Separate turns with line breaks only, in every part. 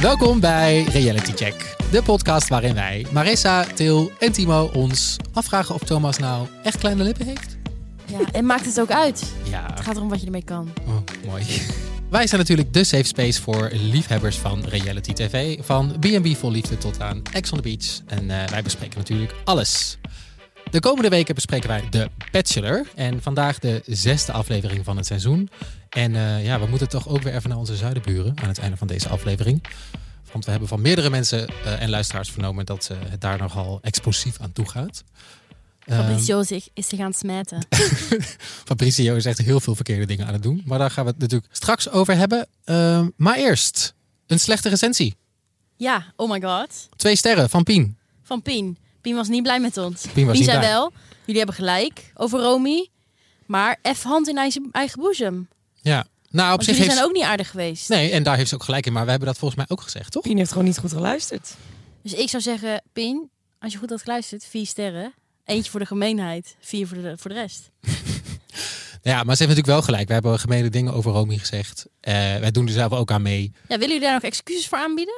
Welkom bij Reality Check, de podcast waarin wij, Marissa, Til en Timo ons afvragen of Thomas nou echt kleine lippen heeft.
Ja, en maakt het ook uit. Het
Ja,
gaat erom wat je ermee kan.
oh, mooi. Wij zijn natuurlijk de safe space voor liefhebbers van reality tv, van B&B Vol Liefde tot aan Ex on the Beach. En eh, wij bespreken natuurlijk alles. De komende weken bespreken wij The Bachelor en vandaag de zesde aflevering van het seizoen. En eh, ja, we moeten toch ook weer even naar onze zuidenburen aan het einde van deze aflevering. Want we hebben van meerdere mensen eh, en luisteraars vernomen dat eh, het daar nogal explosief aan toe gaat. Ehm,
Fabrizio zich, is zich aan het smijten.
Fabrizio is echt heel veel verkeerde dingen aan het doen. Maar daar gaan we het natuurlijk straks over hebben. Ehm, maar eerst een slechte recensie.
Ja, oh my god.
Twee sterren van Pien.
Van Pien. Pien was niet blij met ons. Pien,
was niet
zei
blij.
wel, jullie hebben gelijk over Romy. Maar even hand in eigen, eigen boezem.
Ja. Nou, op
Want
zich
jullie
heeft
zijn
ze-
ook niet aardig geweest.
Nee, en daar heeft ze ook gelijk in. Maar we hebben dat volgens mij ook gezegd, toch?
Pien heeft gewoon niet goed geluisterd.
Dus ik zou zeggen, Pien, als je goed had geluisterd, vier sterren. Eentje voor de gemeenheid, vier voor de, voor de rest.
Ja, maar ze heeft natuurlijk wel gelijk. We hebben gemene dingen over Romy gezegd. Eh, wij doen er zelf ook aan mee.
Ja, willen jullie daar nog excuses voor aanbieden?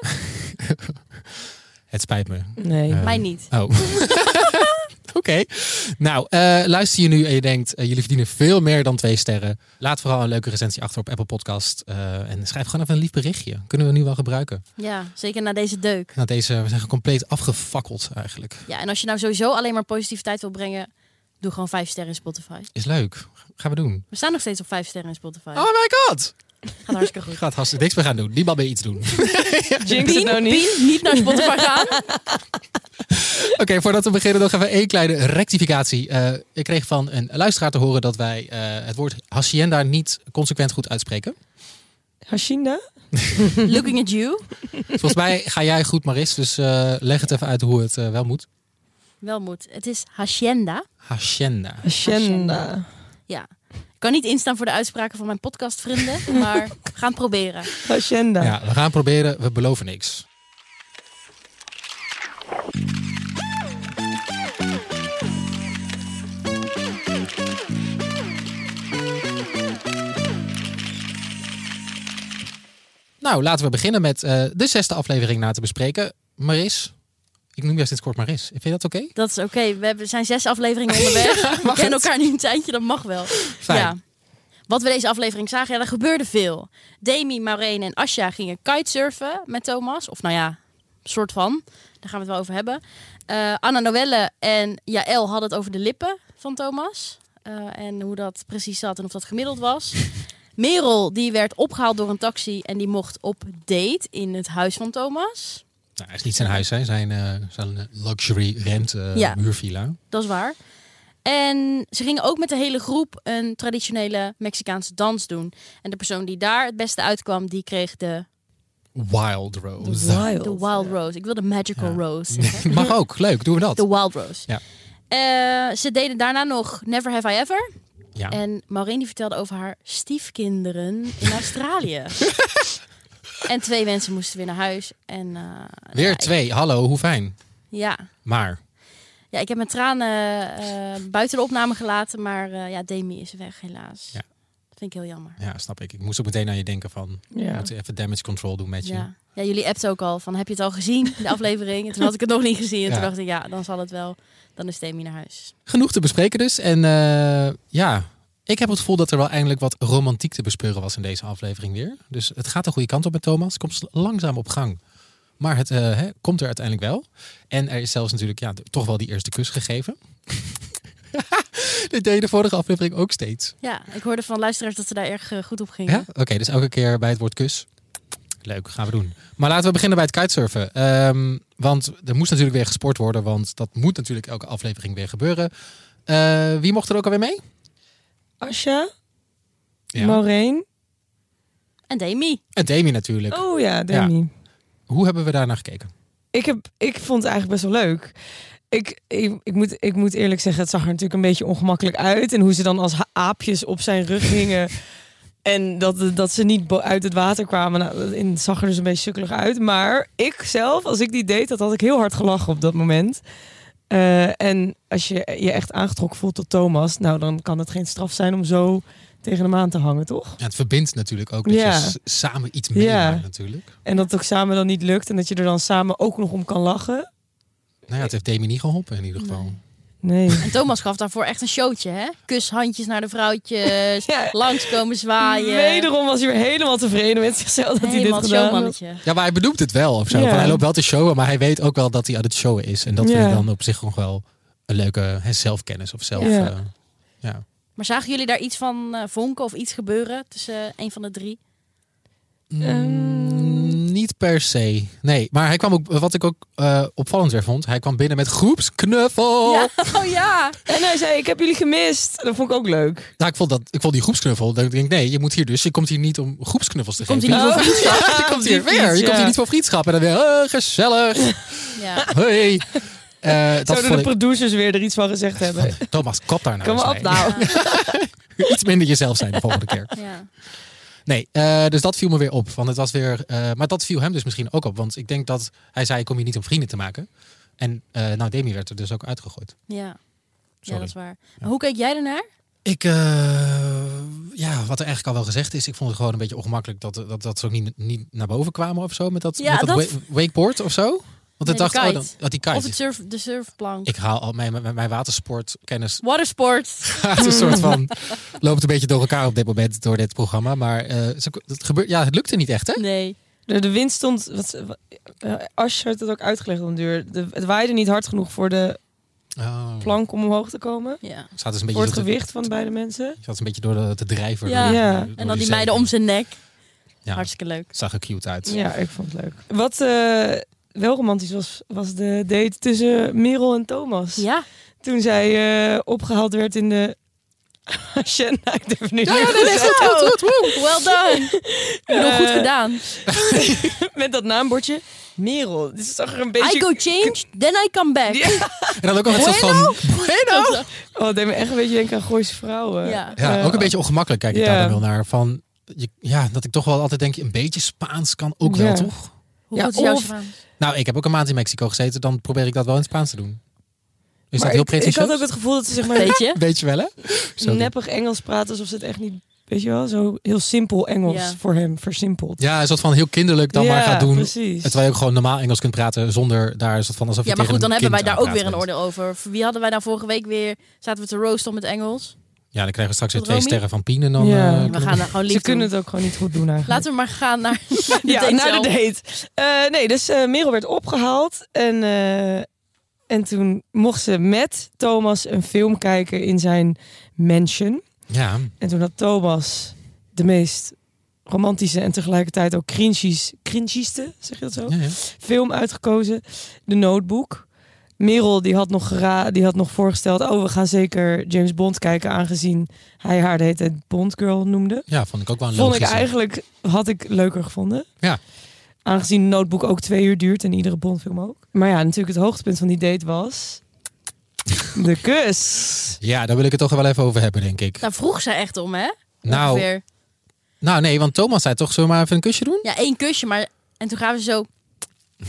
Het spijt me.
Nee.
Ja.
Mij niet.
Oh. Oké. Nou, eh, luister je nu en je denkt, eh, jullie verdienen veel meer dan twee sterren. Laat vooral een leuke recensie achter op Apple Podcast. eh, en schrijf gewoon even een lief berichtje. Kunnen we nu wel gebruiken.
Ja, zeker na deze deuk.
Nou, deze, we zijn compleet afgefakkeld eigenlijk.
Ja, en als je nou sowieso alleen maar positiviteit wil brengen, doe gewoon vijf sterren in Spotify.
Is leuk. Gaan we doen.
We staan nog steeds op vijf sterren in Spotify.
Oh my god!
Gaat hartstikke goed.
Gaat hartstikke niks meer gaan doen. Niemand meer iets doen. Oké,
Jinx het nou niet.
Pien, niet naar Spotify gaan.
voordat we beginnen nog even één kleine rectificatie. Eh, ik kreeg van een luisteraar te horen dat wij eh, het woord hacienda niet consequent goed uitspreken.
Hashinda?
Looking at you.
Volgens mij ga jij goed, Maris. Dus eh, leg het even uit hoe het eh, wel moet.
Wel moet. Het is hacienda.
Hacienda.
Hashinda.
Ja. Ik kan niet instaan voor de uitspraken van mijn podcastvrienden, maar we gaan het proberen.
Hashinda.
Ja, we gaan proberen. We beloven niks. Nou, laten we beginnen met eh, de zesde aflevering na te bespreken. Maris, ik noem jou sinds kort Maris. Vind je dat oké?
Dat is oké. We hebben- zijn zes afleveringen onderweg. we kennen elkaar niet een tijdje, dat mag wel.
Fijn.
Ja. Wat we deze aflevering zagen, ja, er gebeurde veel. Demi, Maureen en Asja gingen kitesurfen met Thomas. Of nou ja, soort van. Daar gaan we het wel over hebben. Eh, Anna Noelle en Jaël hadden het over de lippen van Thomas. Eh, en hoe dat precies zat en of dat gemiddeld was. Merel, die werd opgehaald door een taxi en die mocht op date in het huis van Thomas.
Nou, het is niet zijn huis, hè. zijn, eh, zijn luxury rent eh,
Ja.
huurvilla.
Dat is waar. En ze gingen ook met de hele groep een traditionele Mexicaanse dans doen. En de persoon die daar het beste uitkwam, die kreeg de
Wild
The
Rose.
Wild.
De Wild Rose. Ik wil de Magical
Ja.
Rose zeggen.
Mag ook, leuk, doen we dat.
De Wild Rose.
Ja.
Eh, ze deden daarna nog Never Have I Ever.
Ja.
En Maureen die vertelde over haar stiefkinderen in Australië. en twee mensen moesten weer naar huis. En, eh,
Weer
ja, ik-
twee, hallo, hoe fijn.
ja.
Maar,
ja, ik heb mijn tranen eh, buiten de opname gelaten. Maar eh, ja, Demi is weg helaas.
Ja.
Dat vind ik heel jammer.
ja, snap ik. Ik moest ook meteen aan je denken van, we
Ja.
moeten even damage control doen met je.
Ja. ja, jullie appten ook al van heb je het al gezien, de aflevering? En toen had ik het nog niet gezien. En toen
Ja.
dacht ik, ja, dan zal het wel. Dan is Demi naar huis.
Genoeg te bespreken dus. En eh, ja, ik heb het gevoel dat er wel eindelijk wat romantiek te bespeuren was in deze aflevering weer. Dus het gaat de goede kant op met Thomas. Komt langzaam op gang. Maar het eh, hè, komt er uiteindelijk wel. En er is zelfs natuurlijk ja, toch wel die eerste kus gegeven. Dit deed je de vorige aflevering ook steeds.
Ja, ik hoorde van luisteraars dat ze daar erg eh, goed op gingen.
Ja? Oké, dus elke keer bij het woord kus. Leuk, gaan we doen. Maar laten we beginnen bij het kitesurfen. Ehm, want er moest natuurlijk weer gesport worden, want dat moet natuurlijk elke aflevering weer gebeuren. Eh, wie mocht er ook alweer mee?
Asja, Maureen.
En Demi.
En Demi natuurlijk.
Oh ja, Demi.
Hoe hebben we daarnaar gekeken?
Ik, heb, ik vond het eigenlijk best wel leuk. Ik, ik, ik, moet, ik moet eerlijk zeggen, het zag er natuurlijk een beetje ongemakkelijk uit. En hoe ze dan als ha- aapjes op zijn rug hingen. en dat, dat ze niet bo- uit het water kwamen. Nou, dat- en het zag er dus een beetje sukkelig uit. Maar ik zelf, als ik die deed, dat had ik heel hard gelachen op dat moment. Eh, en als je je echt aangetrokken voelt tot Thomas, nou dan kan het geen straf zijn om zo tegen de maan te hangen, toch?
Ja, het verbindt natuurlijk ook dat
Ja.
je s- samen iets
Ja.
meer natuurlijk.
En dat het ook samen dan niet lukt en dat je er dan samen ook nog om kan lachen.
Nou ja, het heeft Demi niet geholpen in ieder geval.
Nee.
En Thomas gaf daarvoor echt een showtje, hè? Kushandjes naar de vrouwtjes,
Ja.
langskomen
Ah,
zwaaien.
Wederom was hij weer helemaal tevreden met zichzelf dat hij dit
Helemaal het
gedaan had.
showmannetje.
Ja, maar hij bedoelt het wel of zo.
Ja.
Van, hij loopt wel te showen, maar hij weet ook wel dat hij aan het showen is. En dat vind
Ja.
ik dan op zich nog wel een leuke hè, zelfkennis of zelf...
Ja.
eh, ja.
Maar zagen jullie daar iets van eh, vonken of iets gebeuren tussen eh, een van de drie?
Mm, Niet per se. Nee, maar hij kwam ook, wat ik ook eh, opvallend weer vond, hij kwam binnen met groepsknuffel.
Ja, oh ja.
En hij zei, ik heb jullie gemist. Dat vond ik ook leuk.
Nou, ik vond, dat, ik vond die groepsknuffel. Dan denk ik, nee, je moet hier dus. Je komt hier niet om groepsknuffels te
Komt
geven.
hij niet voor
vriendschap? je komt hier
die
weer. Je
fiets,
komt
ja.
hier niet voor vriendschap. En dan weer, eh, gezellig.
ja.
Hoi. Eh dat
Zouden de
vond ik.
producers weer er iets van gezegd hebben?
Thomas, kap daar nou
Kom
eens
op
mee.
nou.
Iets minder jezelf zijn de volgende keer.
ja.
Nee, eh, dus dat viel me weer op. Want het was weer, eh, maar dat viel hem dus misschien ook op. Want ik denk dat hij zei, ik kom hier niet om vrienden te maken. En eh, nou, Demi werd er dus ook uitgegooid.
Ja. ja,
Sorry.
dat is waar. Maar hoe keek jij ernaar?
Ik, eh, ja, wat er eigenlijk al wel gezegd is, ik vond het gewoon een beetje ongemakkelijk dat, dat, dat ze ook niet, niet naar boven kwamen of zo. Met dat,
Ja,
met dat,
dat-
wa- wakeboard of zo. Want ik
die
dacht, oh, dan,
kite.
dat die
Of
kite.
het surf, de surfplank?
Ik haal al mijn, mijn, mijn watersportkennis
Watersport.
gaat een soort van, loopt een beetje door elkaar op dit moment door dit programma. Maar eh, ze- het, gebeurt, ja, het lukte niet echt, hè?
Nee.
De, de wind stond... Wat, wat, eh, Ash heeft dat ook uitgelegd om duur. De, het waaide niet hard genoeg voor de
Oh.
plank om omhoog te komen.
Ja.
Ze had dus een
Voor
beetje,
het
zo te-
gewicht van beide mensen.
ze had een beetje door de, de drijver.
Ja.
door-
Ja.
door
En dan die
zee.
meiden om zijn nek.
Ja,
Hartstikke leuk.
zag er cute uit.
Ja, ik vond het leuk. Wat eh, wel romantisch was, was de date tussen Merel en Thomas.
Ja.
Toen zij eh, opgehaald werd in de... Shanna, ik durf het niet meer te zeggen.
goed, goed, Well done. Heel
Eh,
goed gedaan.
Met dat naambordje. Merel. Dit is toch een beetje...
I go change, then I come back.
Ja.
En dan ook al een soort
nou?
van... Bueno!
Oh, het deed me echt een beetje denken aan Gooise vrouwen.
Ja.
Ja,
Eh,
ook een beetje ongemakkelijk kijk ik
ja.
daar dan wel naar. Van, je- ja, dat ik toch wel altijd denk, een beetje Spaans kan ook wel,
Ja.
toch?
Hoe
Ja,
goed is jouw
of-
Spaans?
Nou, ik heb ook een maand in Mexico gezeten, dan probeer ik dat wel in het Spaans te doen. Is
Maar
dat heel
ik, ik
prettig?
had ook het gevoel dat ze zeg maar
Weet je?
Weet je wel, hè? Sorry.
neppig Engels praten alsof ze het echt niet... Weet je wel? Zo heel simpel Engels
Ja.
voor hem. Versimpeld.
Ja, een soort van heel kinderlijk dan maar
Ja,
gaat doen.
precies.
Terwijl je ook gewoon normaal Engels kunt praten zonder daar een soort van alsof je
Ja, maar
tegen
goed, dan
een
hebben wij
kind
daar
aan
ook
het
weer een
praten bent.
oordeel over. Voor Wie hadden wij nou vorige week weer? Zaten we te roosten om het Engels?
Ja, dan krijgen we straks weer
Wat,
twee
Romy?
sterren van Pien en dan...
Ja.
eh,
We
We gaan daar gewoon lief
Ze kunnen
doen.
het ook gewoon niet goed doen eigenlijk.
Laten we maar gaan naar de
ja,
date
naar
zelf.
de date. Eh, nee, dus eh, Merel werd opgehaald. En, eh, en toen mocht ze met Thomas een film kijken in zijn mansion.
ja.
En toen had Thomas de meest romantische en tegelijkertijd ook cringies, cringieste, zeg je dat zo?
Ja, ja.
Film uitgekozen, The Notebook. Merel die had, nog gera die had nog voorgesteld, oh we gaan zeker James Bond kijken aangezien hij haar de hele tijd Bond Girl noemde.
Ja, vond ik ook wel een
Vond ik
logische.
eigenlijk, had ik leuker gevonden.
Oh, Ja.
Aangezien de notebook ook twee uur duurt en iedere Bondfilm ook. Maar ja, natuurlijk het hoogtepunt van die date was... De kus.
Ja, daar wil ik het toch wel even over hebben, denk ik.
Daar vroeg ze echt om, hè?
Nou,
Ongeveer.
nou nee, want Thomas zei toch, zullen we maar even een kusje doen?
Ja, één kusje, maar... En toen gaven ze zo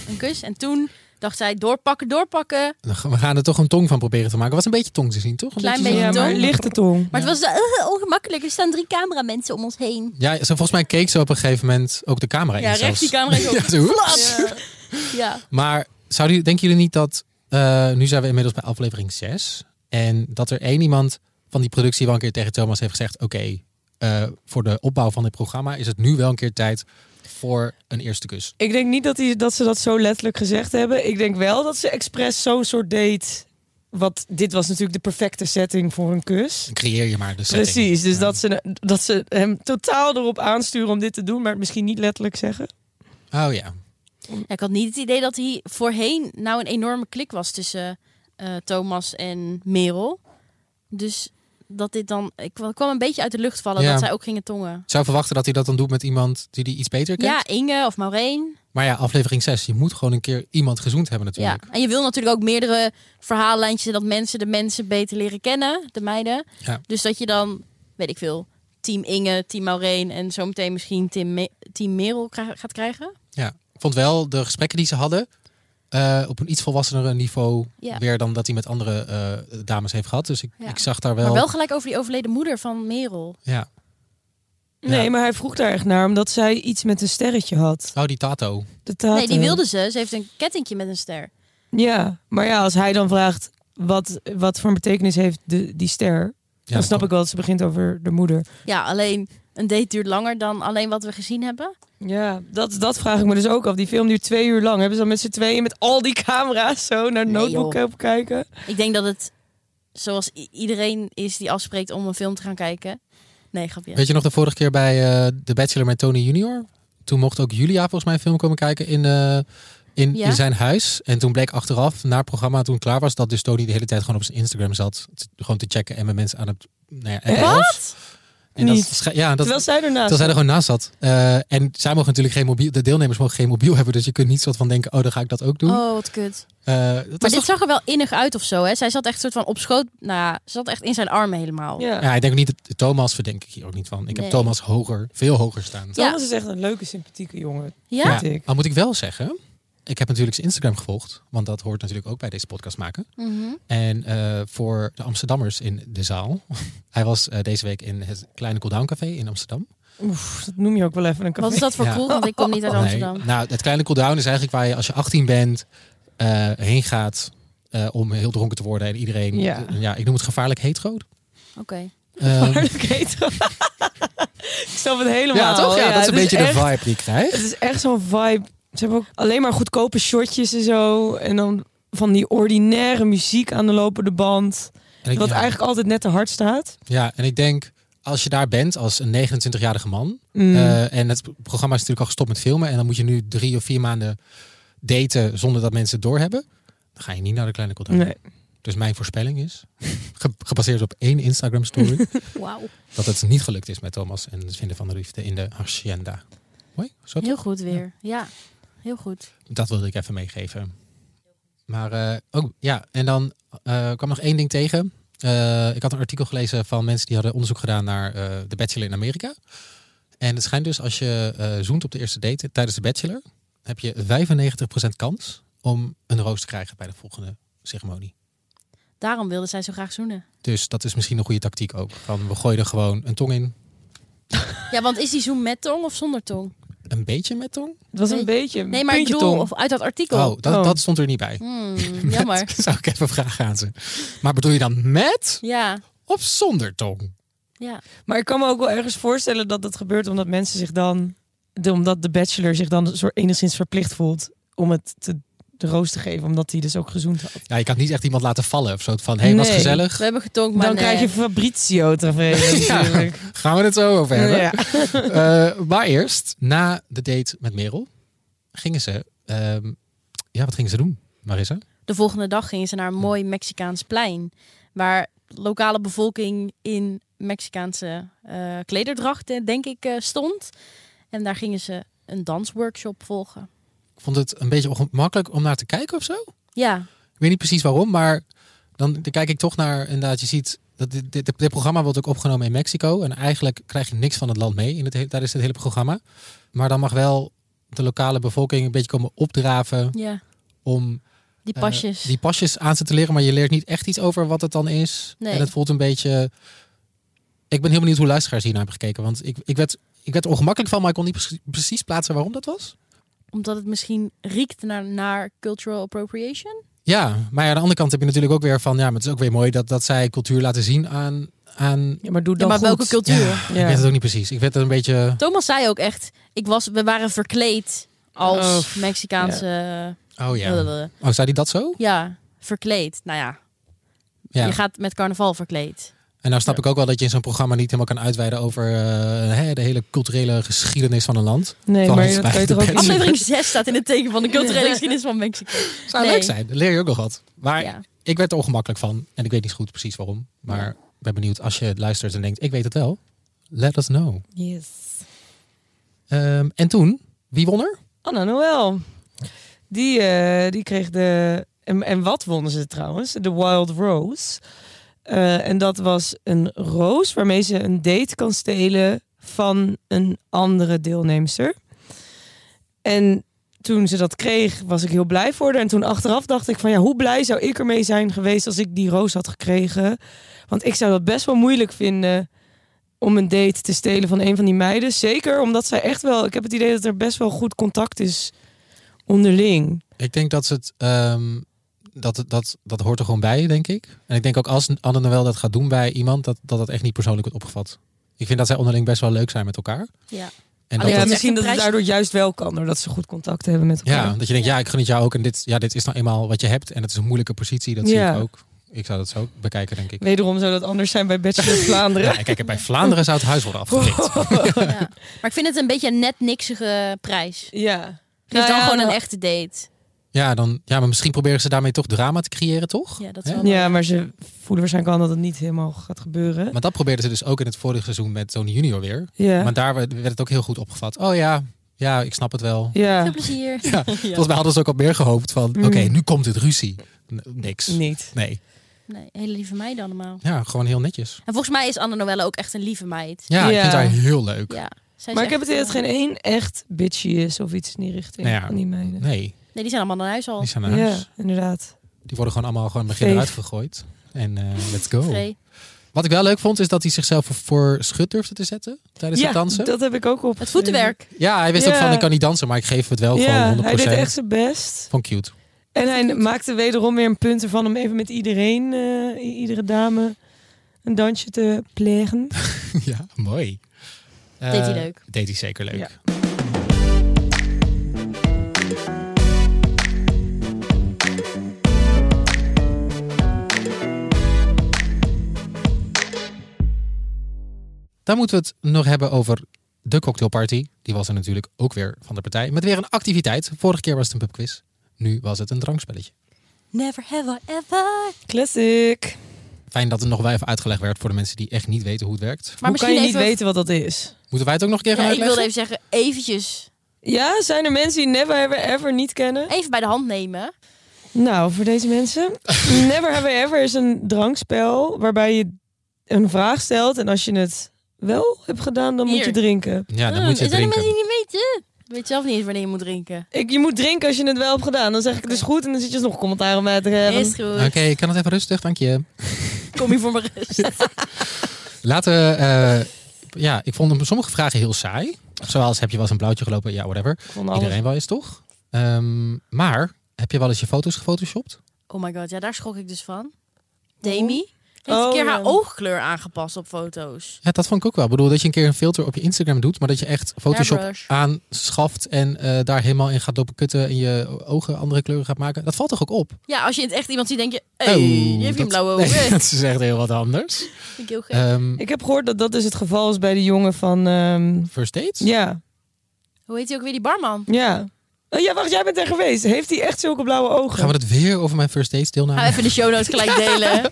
een kus. En toen dacht zij, doorpakken, doorpakken.
Dan gaan- We gaan er toch een tong van proberen te maken. Was een beetje tong te zien, toch? Een
Klein
zo-
beetje
Ja, maar
tong.
lichte tong.
Maar het was eh, ongemakkelijk. Er staan drie cameramensen om ons heen.
Ja, ze, volgens mij keek ze op een gegeven moment ook de camera
Ja,
in.
rechts
zelfs.
die camera is op.
Ja, zo, oeps.
Ja. ja.
Maar zouden, jullie- denken jullie niet dat... eh, nu zijn we inmiddels bij aflevering 6. En dat er één iemand van die productie wel een keer tegen Thomas heeft gezegd... Oké, eh, voor de opbouw van dit programma is het nu wel een keer tijd voor een eerste kus.
Ik denk niet dat, die, dat ze dat zo letterlijk gezegd hebben. Ik denk wel dat ze expres zo'n soort date... Wat, dit was natuurlijk de perfecte setting voor een kus.
Creëer je maar de setting.
Precies, dus
Ja.
dat, ze, dat ze hem totaal erop aansturen om dit te doen... maar het misschien niet letterlijk zeggen.
Oh ja.
Ja, ik had niet het idee dat hij voorheen nou een enorme klik was tussen eh, Thomas en Merel. Dus dat dit dan... Ik kwam- kwam een beetje uit de lucht vallen
Ja.
dat zij ook gingen tongen.
Ik zou verwachten dat hij dat dan doet met iemand die die iets beter kent.
Ja, Inge of Maureen.
Maar ja, aflevering 6. Je moet gewoon een keer iemand gezoend hebben
Ja.
natuurlijk.
En je wil natuurlijk ook meerdere verhaallijntjes... dat mensen de mensen beter leren kennen, de meiden.
Ja.
Dus dat je dan, weet ik veel, team Inge, team Maureen... en zometeen misschien team, Me- team Merel kra- gaat krijgen.
Ja, ik vond wel de gesprekken die ze hadden eh, op een iets volwassenere niveau
Ja.
weer dan dat hij met andere eh, dames heeft gehad. Dus ik,
Ja.
ik zag daar wel.
Maar wel gelijk over die overleden moeder van Merel.
Ja.
Nee,
Ja.
maar hij vroeg daar echt naar, omdat zij iets met een sterretje had.
Oh, die tato.
De tato.
Nee, die wilde ze. Ze heeft een kettingje met een ster.
Ja, maar ja, als hij dan vraagt wat, wat voor een betekenis heeft de, die ster,
Ja,
dan snap ik wel dat ze begint over de moeder.
Ja, alleen een date duurt langer dan alleen wat we gezien hebben.
Ja, dat, dat vraag ik me dus ook af. Die film duurt twee uur lang. Hebben ze dan met z'n tweeën met al die camera's zo naar de
Nee,
notebook
joh.
op kijken?
Ik denk dat het zoals i- iedereen is die afspreekt om een film te gaan kijken. Nee, grapje.
Weet je nog de vorige keer bij eh, The Bachelor met Tony Junior? Toen mocht ook Julia volgens mij een film komen kijken in, eh, in,
Ja.
in zijn huis. En toen bleek achteraf, na het programma toen het klaar was, dat dus Tony de hele tijd gewoon op zijn Instagram zat. te- gewoon te checken en met mensen aan het... Nou ja, en
Echt?
alles. En dat,
Niet.
scha- ja, dat,
Terwijl zij ernaast.
Terwijl zij er gewoon naast zat. Eh, en zij mogen natuurlijk geen mobiel, de deelnemers mogen geen mobiel hebben. Dus je kunt niet soort van denken, oh, dan ga ik dat ook doen.
Oh, wat kut.
Eh, dat
Maar
was
dit
toch,
zag er wel innig uit of zo, hè? Zij zat echt soort van op schoot. Nou ja, ze zat echt in zijn armen helemaal.
Ja.
ja, ik denk niet, dat- Thomas verdenk ik hier ook niet van. Ik
Nee.
heb Thomas hoger, veel hoger staan.
Thomas is echt een leuke, sympathieke jongen.
Ja?
Vind ik.
Al moet ik wel zeggen, ik heb natuurlijk zijn Instagram gevolgd. Want dat hoort natuurlijk ook bij deze podcast maken.
Mhm.
En eh, voor de Amsterdammers in de zaal. Hij was eh, deze week in het kleine cooldown café in Amsterdam.
Oef, dat noem je ook wel even een café.
Wat is dat voor
Ja.
cool? Want ik kom niet uit
Nee.
Amsterdam.
Nou, het kleine cooldown is eigenlijk waar je als je 18 bent eh, heen gaat eh, om heel dronken te worden. En iedereen, eh,
Ja.
ja, ik noem het gevaarlijk hetero.
Oké.
Ehm,
Maar oké, toch? ik snap het helemaal.
ja, toch? Ja, dat is een
het
beetje
echt-
de vibe die ik krijg.
Het is echt zo'n vibe. Ze hebben ook alleen maar goedkope shotjes en zo. En dan van die ordinaire muziek aan de lopende band.
En ik,
Wat
ja,
eigenlijk altijd net te hard staat.
ja, en ik denk, als je daar bent als een 29-jarige man.
Mm.
eh, en het programma is natuurlijk al gestopt met filmen. En dan moet je nu drie of vier maanden daten zonder dat mensen het doorhebben. Dan ga je niet naar de kleine cooldown.
nee.
Dus mijn voorspelling is, ge- gebaseerd op één Instagram story,
Wauw.
dat het niet gelukt is met Thomas en het vinden van de liefde in de hacienda. Hoi, zo toch?
Heel goed weer. Ja, heel goed.
Dat wilde ik even meegeven. Maar eh, ook, ja, en dan eh, kwam nog één ding tegen. Eh, ik had een artikel gelezen van mensen die hadden onderzoek gedaan naar eh de bachelor in Amerika. En het schijnt dus als je eh, zoent op de eerste date tijdens de bachelor, heb je 95% kans om een roos te krijgen bij de volgende ceremonie.
Daarom wilde zij zo graag zoenen.
Dus dat is misschien een goede tactiek ook. Van we gooien er gewoon een tong in.
Ja, want is die zoen met tong of zonder tong?
Een beetje met tong?
Het was
Nee.
een beetje een
Nee, maar ik
puntje
bedoel,
tong.
of uit dat artikel.
Oh, dat,
Oh.
dat stond er niet bij.
Hmm, jammer.
Dat zou ik even vragen aan ze. Maar bedoel je dan met
Ja,
of zonder tong?
ja.
Maar ik kan me ook wel ergens voorstellen dat dat gebeurt omdat mensen zich dan... de- omdat de bachelor zich dan zo enigszins verplicht voelt om het te, de roos te geven. Omdat hij dus ook gezoend had.
Ja, je kan niet echt iemand laten vallen of zo. Van, hé, hey, was
Nee.
gezellig.
We hebben getonkt, maar eh,
dan
nee.
krijg je Fabrizio te vreden
Ja.
natuurlijk.
Gaan we het zo over hebben.
Ja.
Eh, maar eerst, na de date met Merel, gingen ze... ehm, ja, wat gingen ze doen, Marissa?
De volgende dag gingen ze naar een mooi Mexicaans plein. Waar lokale bevolking in Mexicaanse eh klederdrachten, denk ik, eh, stond. En daar gingen ze een dansworkshop volgen.
Ik vond het een beetje ongemakkelijk om naar te kijken of zo.
Ja,
Ik weet niet precies waarom, maar dan, dan kijk ik toch naar, inderdaad, je ziet, dat dit, dit, dit programma wordt ook opgenomen in Mexico. En eigenlijk krijg je niks van het land mee in het, he- tijdens het hele programma. Maar dan mag wel de lokale bevolking een beetje komen opdraven
ja.
om
die
eh,
pasjes.
die pasjes aan ze te leren. Maar je leert niet echt iets over wat het dan is.
Nee.
En het voelt een beetje... Ik ben heel benieuwd hoe luisteraars hiernaar hebben gekeken. Want ik, ik, werd, ik werd er ongemakkelijk van, maar ik kon niet precies- precies plaatsen waarom dat was.
Omdat het misschien riekt naar, naar cultural appropriation.
Ja, maar ja, aan de andere kant heb je natuurlijk ook weer van... Ja, maar het is ook weer mooi dat, dat zij cultuur laten zien aan... aan
Ja, maar doe
Ja,
dan
maar
goed.
welke cultuur?
Ja, Ik weet het ook niet precies. Ik werd er een beetje.
Thomas zei ook echt, ik was, we waren verkleed als
Oh, pff,
Mexicaanse... eh,
Oh
blablabla.
Oh, zei hij dat zo?
ja, verkleed. Nou ja,
Ja.
je gaat met carnaval verkleed.
En nou snap ik ook wel dat je in zo'n programma niet helemaal kan uitweiden over eh, hè, de hele culturele geschiedenis van een land.
Nee,
Van
maar
ons
dat kan je
bij
toch
de
ook niet...
bachelor.
Aflevering 6 staat in het teken van de culturele geschiedenis van Mexico.
Zou
Nee.
leuk zijn. Dan leer je ook nog wat. Maar
Ja.
ik werd er ongemakkelijk van. En ik weet niet goed precies waarom. Maar
Ja.
ik ben benieuwd als je luistert en denkt: ik weet het wel. Let us know.
Yes.
Ehm, en toen, wie won er?
Anna Noël. Die, eh, die kreeg de... En, en wat wonnen ze trouwens? De Wild Rose. Eh, en dat was een roos waarmee ze een date kan stelen van een andere deelnemster. En toen ze dat kreeg, was ik heel blij voor haar. En toen achteraf dacht ik van ja, hoe blij zou ik ermee zijn geweest als ik die roos had gekregen? Want ik zou dat best wel moeilijk vinden om een date te stelen van een van die meiden. Zeker omdat zij echt wel... Ik heb het idee dat er best wel goed contact is onderling.
Ik denk dat ze het. ehm, dat, dat, dat hoort er gewoon bij, denk ik. En ik denk ook als Anne Noël dat gaat doen bij iemand, dat, dat dat echt niet persoonlijk wordt opgevat. Ik vind dat zij onderling best wel leuk zijn met elkaar.
Ja.
En dat,
Alleen
ja,
dat,
echt
misschien
een
dat het
prijs-
daardoor juist wel kan. Doordat ze goed contact hebben met elkaar.
ja, dat je denkt, ja, ik gun het jou ook. En dit, ja, dit is nou eenmaal wat je hebt. En het is een moeilijke positie, dat zie
Ja.
ik ook. Ik zou dat zo bekijken, denk ik.
Wederom zou dat anders zijn bij Bachelor Vlaanderen.
Ja, kijk, bij Vlaanderen zou het huis worden afgericht.
ja. Maar ik vind het een beetje een net niksige prijs.
Ja.
Geef
Nou
dan
ja,
gewoon een
nou-
echte date.
Ja, dan, ja, maar misschien proberen ze daarmee toch drama te creëren, toch?
Ja, dat
Hè?
is wel
Ja, maar ze voelen waarschijnlijk al dat het niet helemaal gaat gebeuren.
Maar dat probeerden ze dus ook in het vorige seizoen met Tony Junior weer.
Ja.
Maar daar werd werd het ook heel goed opgevat. Oh ja, ja, ik snap het wel.
Veel
Ja.
plezier.
Ja, Volgens mij hadden ze ook al meer gehoopt van,
Mm.
oké, nu komt het ruzie. N- niks.
Niet.
Nee.
Nee, hele lieve meiden allemaal.
Ja, gewoon heel netjes.
En volgens mij is Anne Noelle ook echt een lieve meid.
Ja, ik
Ja.
vind haar heel leuk.
Ja. Zij is
Maar ik
echt,
heb het idee dat
eh,
geen één echt bitchy is of iets in die richting
Nou ja.
van die meiden.
Nee,
Nee, die zijn allemaal naar huis al.
die zijn naar huis.
Ja, inderdaad.
Die worden gewoon allemaal gewoon begin
Veeg.
eruit gegooid. En eh, let's go.
Vree.
Wat ik wel leuk vond, is dat hij zichzelf voor, voor schut durfde te zetten tijdens
ja,
het dansen.
dat heb ik ook op.
Het voetenwerk.
Ja, hij wist ook
Ja.
van, ik kan niet dansen, maar ik geef het wel
Ja,
gewoon 100%.
hij deed echt zijn best.
Van cute.
En hij maakte wederom weer een punt ervan om even met iedereen, eh, i- iedere dame, een dansje te plegen.
ja, mooi. Eh, Deed
hij leuk.
Deed hij zeker leuk.
Ja.
Dan moeten we het nog hebben over de cocktailparty. Die was er natuurlijk ook weer van de partij. Met weer een activiteit. Vorige keer was het een pubquiz. Nu was het een drankspelletje.
Never have I ever.
Classic.
Fijn dat het nog wel even uitgelegd werd voor de mensen die echt niet weten hoe het werkt.
Maar
Hoe kan je niet
even-
weten wat dat is?
Moeten wij het ook nog een keer gaan
Ja, ik
uitleggen?
wilde even zeggen, eventjes.
Ja, zijn er mensen die Never Ever Ever niet kennen?
Even bij de hand nemen.
Nou, voor deze mensen. Never Have I Ever is een drankspel waarbij je een vraag stelt. En als je het wel hebt gedaan, dan moet
Hier.
je drinken.
Ja, dan
Mm,
moet je
er zijn er
drinken.
mensen die niet weten. Je weet zelf niet eens wanneer je moet drinken.
Ik, je moet drinken als je het wel hebt gedaan. Dan zeg ik het is goed en dan zit je alsnog nog commentaar om uit te hebben.
Is goed.
Oké, ik kan het even rustig, dank je.
Kom hier voor mijn rust.
Laten we... eh, ja, ik vond hem sommige vragen heel saai. Zoals, heb je wel eens een blauwtje gelopen? Ja, whatever.
Ik vond alles-
Iedereen wel eens, toch? Ehm, maar, heb je wel eens je foto's gefotoshopt?
Oh my god, ja, daar schrok ik dus van. Demi heeft een
Oh,
keer
ja.
haar oogkleur aangepast op foto's.
Ja, dat vond ik ook wel. Ik bedoel, dat je een keer een filter op je Instagram doet, maar dat je echt Photoshop
Airbrush.
aanschaft en eh, daar helemaal in gaat lopen kutten en je ogen andere kleuren gaat maken. Dat valt toch ook op?
Ja, als je in het echt iemand ziet, denk je... hey,
Oh,
die heeft
dat-
een blauwe
Nee,
ogen.
dat is echt heel wat anders.
Vind ik heel gek.
Ehm,
Ik heb gehoord dat dat dus het geval is bij de jongen van... ehm,
first dates?
ja,
Hoe heet hij ook weer, die barman?
ja. Oh ja, wacht, jij bent er geweest. Heeft hij echt zulke blauwe ogen?
Gaan we het weer over mijn first dates deelname?
Gaan we even de show notes gelijk delen. Hij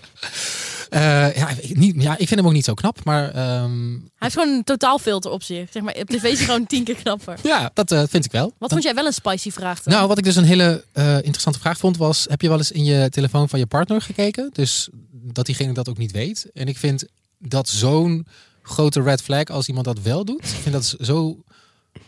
Eh, ja, ik- niet, ja, ik vind hem ook niet zo knap, maar ehm,
heeft gewoon een totaalfilter op zich. Zeg maar, op tv is hij gewoon tien keer knapper.
ja, dat eh, vind ik wel.
Wat
Dan-
vond jij wel een spicy vraag dan?
Nou, wat ik dus een hele eh, interessante vraag vond was... heb je wel eens in je telefoon van je partner gekeken? Dus dat diegene dat ook niet weet. En ik vind dat zo'n grote red flag als iemand dat wel doet. Ik vind dat zo...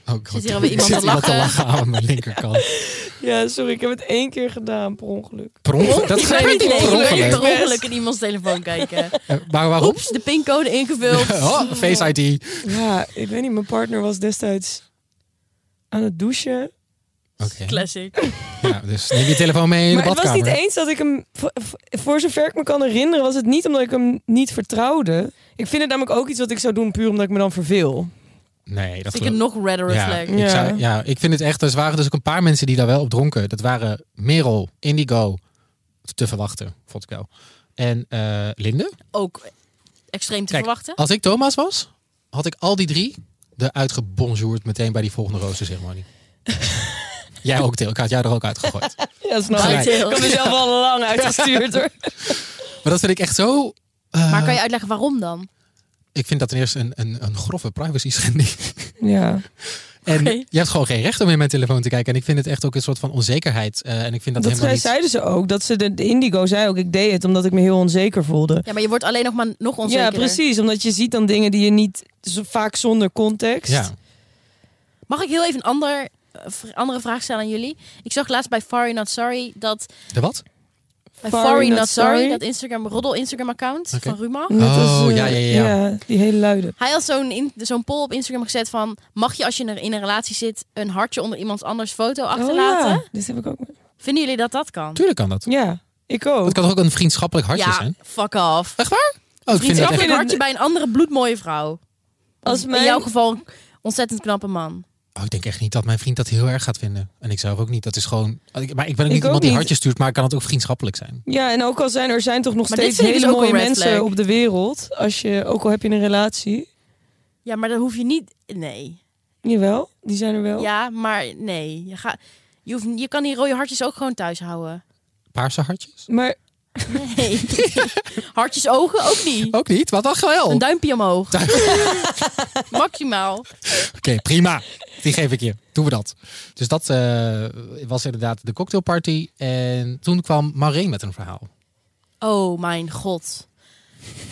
Oh, ik
Zit hier
hoor-
alweer iemand
zit
te lachen?
aan mijn linkerkant.
Ja, sorry, ik heb het één keer gedaan per ongeluk.
Per ongeluk- dat is
Ik weet
echt
niet,
per
nee,
ongeluk.
ik ben per
ongeluk.
ongeluk in iemands telefoon kijken.
Eh, Maar waarom?
Oeps, de pincode ingevuld.
Oh, Face ID.
Ja, ik weet niet, mijn partner was destijds aan het douchen.
Oké.
Classic.
Ja, dus neem je telefoon mee in de
maar het was
badkamer.
niet eens dat ik hem, voor- voor zover ik me kan herinneren, was het niet omdat ik hem niet vertrouwde. Ik vind het namelijk ook iets wat ik zou doen puur omdat ik me dan verveel.
Nee, dat
Vind ik
geloof-
een nog redder red
Ja,
flag.
ik
Ja.
zou- ja, ik vind het echt. Er waren dus ook een paar mensen die daar wel op dronken. Dat waren Merel, Indigo, te verwachten, vond ik wel. En eh, Linde.
Ook extreem te
Kijk,
verwachten.
Als ik Thomas was, had ik al die drie eruit gebonjourd meteen bij die volgende roosterceremonie. Jij ook, Til. Ik had jou er ook uitgegooid.
Ja, snap
Gelijk.
ik. Ik heb mezelf al lang uitgestuurd hoor.
Maar dat vind ik echt zo... eh,
Maar kan je uitleggen waarom dan?
Ik vind dat ten eerste een, een, een grove privacy schending.
Ja.
En
Oké.
je hebt gewoon geen recht om in mijn telefoon te kijken. En ik vind het echt ook een soort van onzekerheid. eh, en ik vind dat,
Dat,
helemaal niet...
zeiden ze ook. Dat ze de, de indigo zei ook, ik deed het omdat ik me heel onzeker voelde.
Ja, maar je wordt alleen nog maar nog onzekerder.
Ja, precies. Omdat je ziet dan dingen die je niet zo vaak zonder context.
Ja.
Mag ik heel even een ander, eh, vr- andere vraag stellen aan jullie? Ik zag laatst bij Far You're Not Sorry dat
De wat?
Bij
Sorry,
Sorry
not
Not Sorry,
sorry.
dat Instagram, roddel Instagram account
Oké.
van Ruma.
Net als,
Oh,
eh,
ja, ja, ja, ja.
die hele luide.
Hij had zo'n in- zo'n poll op Instagram gezet van... mag je als je in een- in een relatie zit een hartje onder iemand anders foto achterlaten?
Oh, ja. Dit heb ik ook.
Vinden jullie dat dat kan?
Tuurlijk kan dat.
Ja, ik ook.
Oh, Het kan toch ook een vriendschappelijk hartje
ja,
zijn?
fuck off.
Echt waar? Oh, ik vind dat echt...
Vriendschappelijk
echt-
hartje bij een andere bloedmooie vrouw.
Als mijn-
In jouw geval een ontzettend knappe man.
Oh, ik denk echt niet dat mijn vriend dat heel erg gaat vinden. En ik zelf ook niet. Dat is gewoon... Maar ik ben ook niet
Ik ook
iemand die
niet.
hartjes stuurt, maar kan het ook vriendschappelijk zijn.
Ja, en ook al zijn er zijn toch nog
Maar dit
steeds
vind ik
hele
dus ook
mooie
een red
mensen
flag.
op de wereld. Als je, ook al heb je een relatie.
Ja, maar dan hoef je niet... Nee.
Jawel, die zijn er wel.
Ja, maar nee. Je, gaat, je, hoeft, je kan die rode hartjes ook gewoon thuis houden.
Paarse hartjes?
Maar
Nee. Oh. hartjes ogen ook niet.
Ook niet? Wat dan wel?
Een
Oké,
duimpje omhoog. Maximaal.
prima. Die geef ik je. Doen we dat. Dus dat eh, was inderdaad de cocktailparty. En toen kwam Maureen met een verhaal.
Oh mijn god.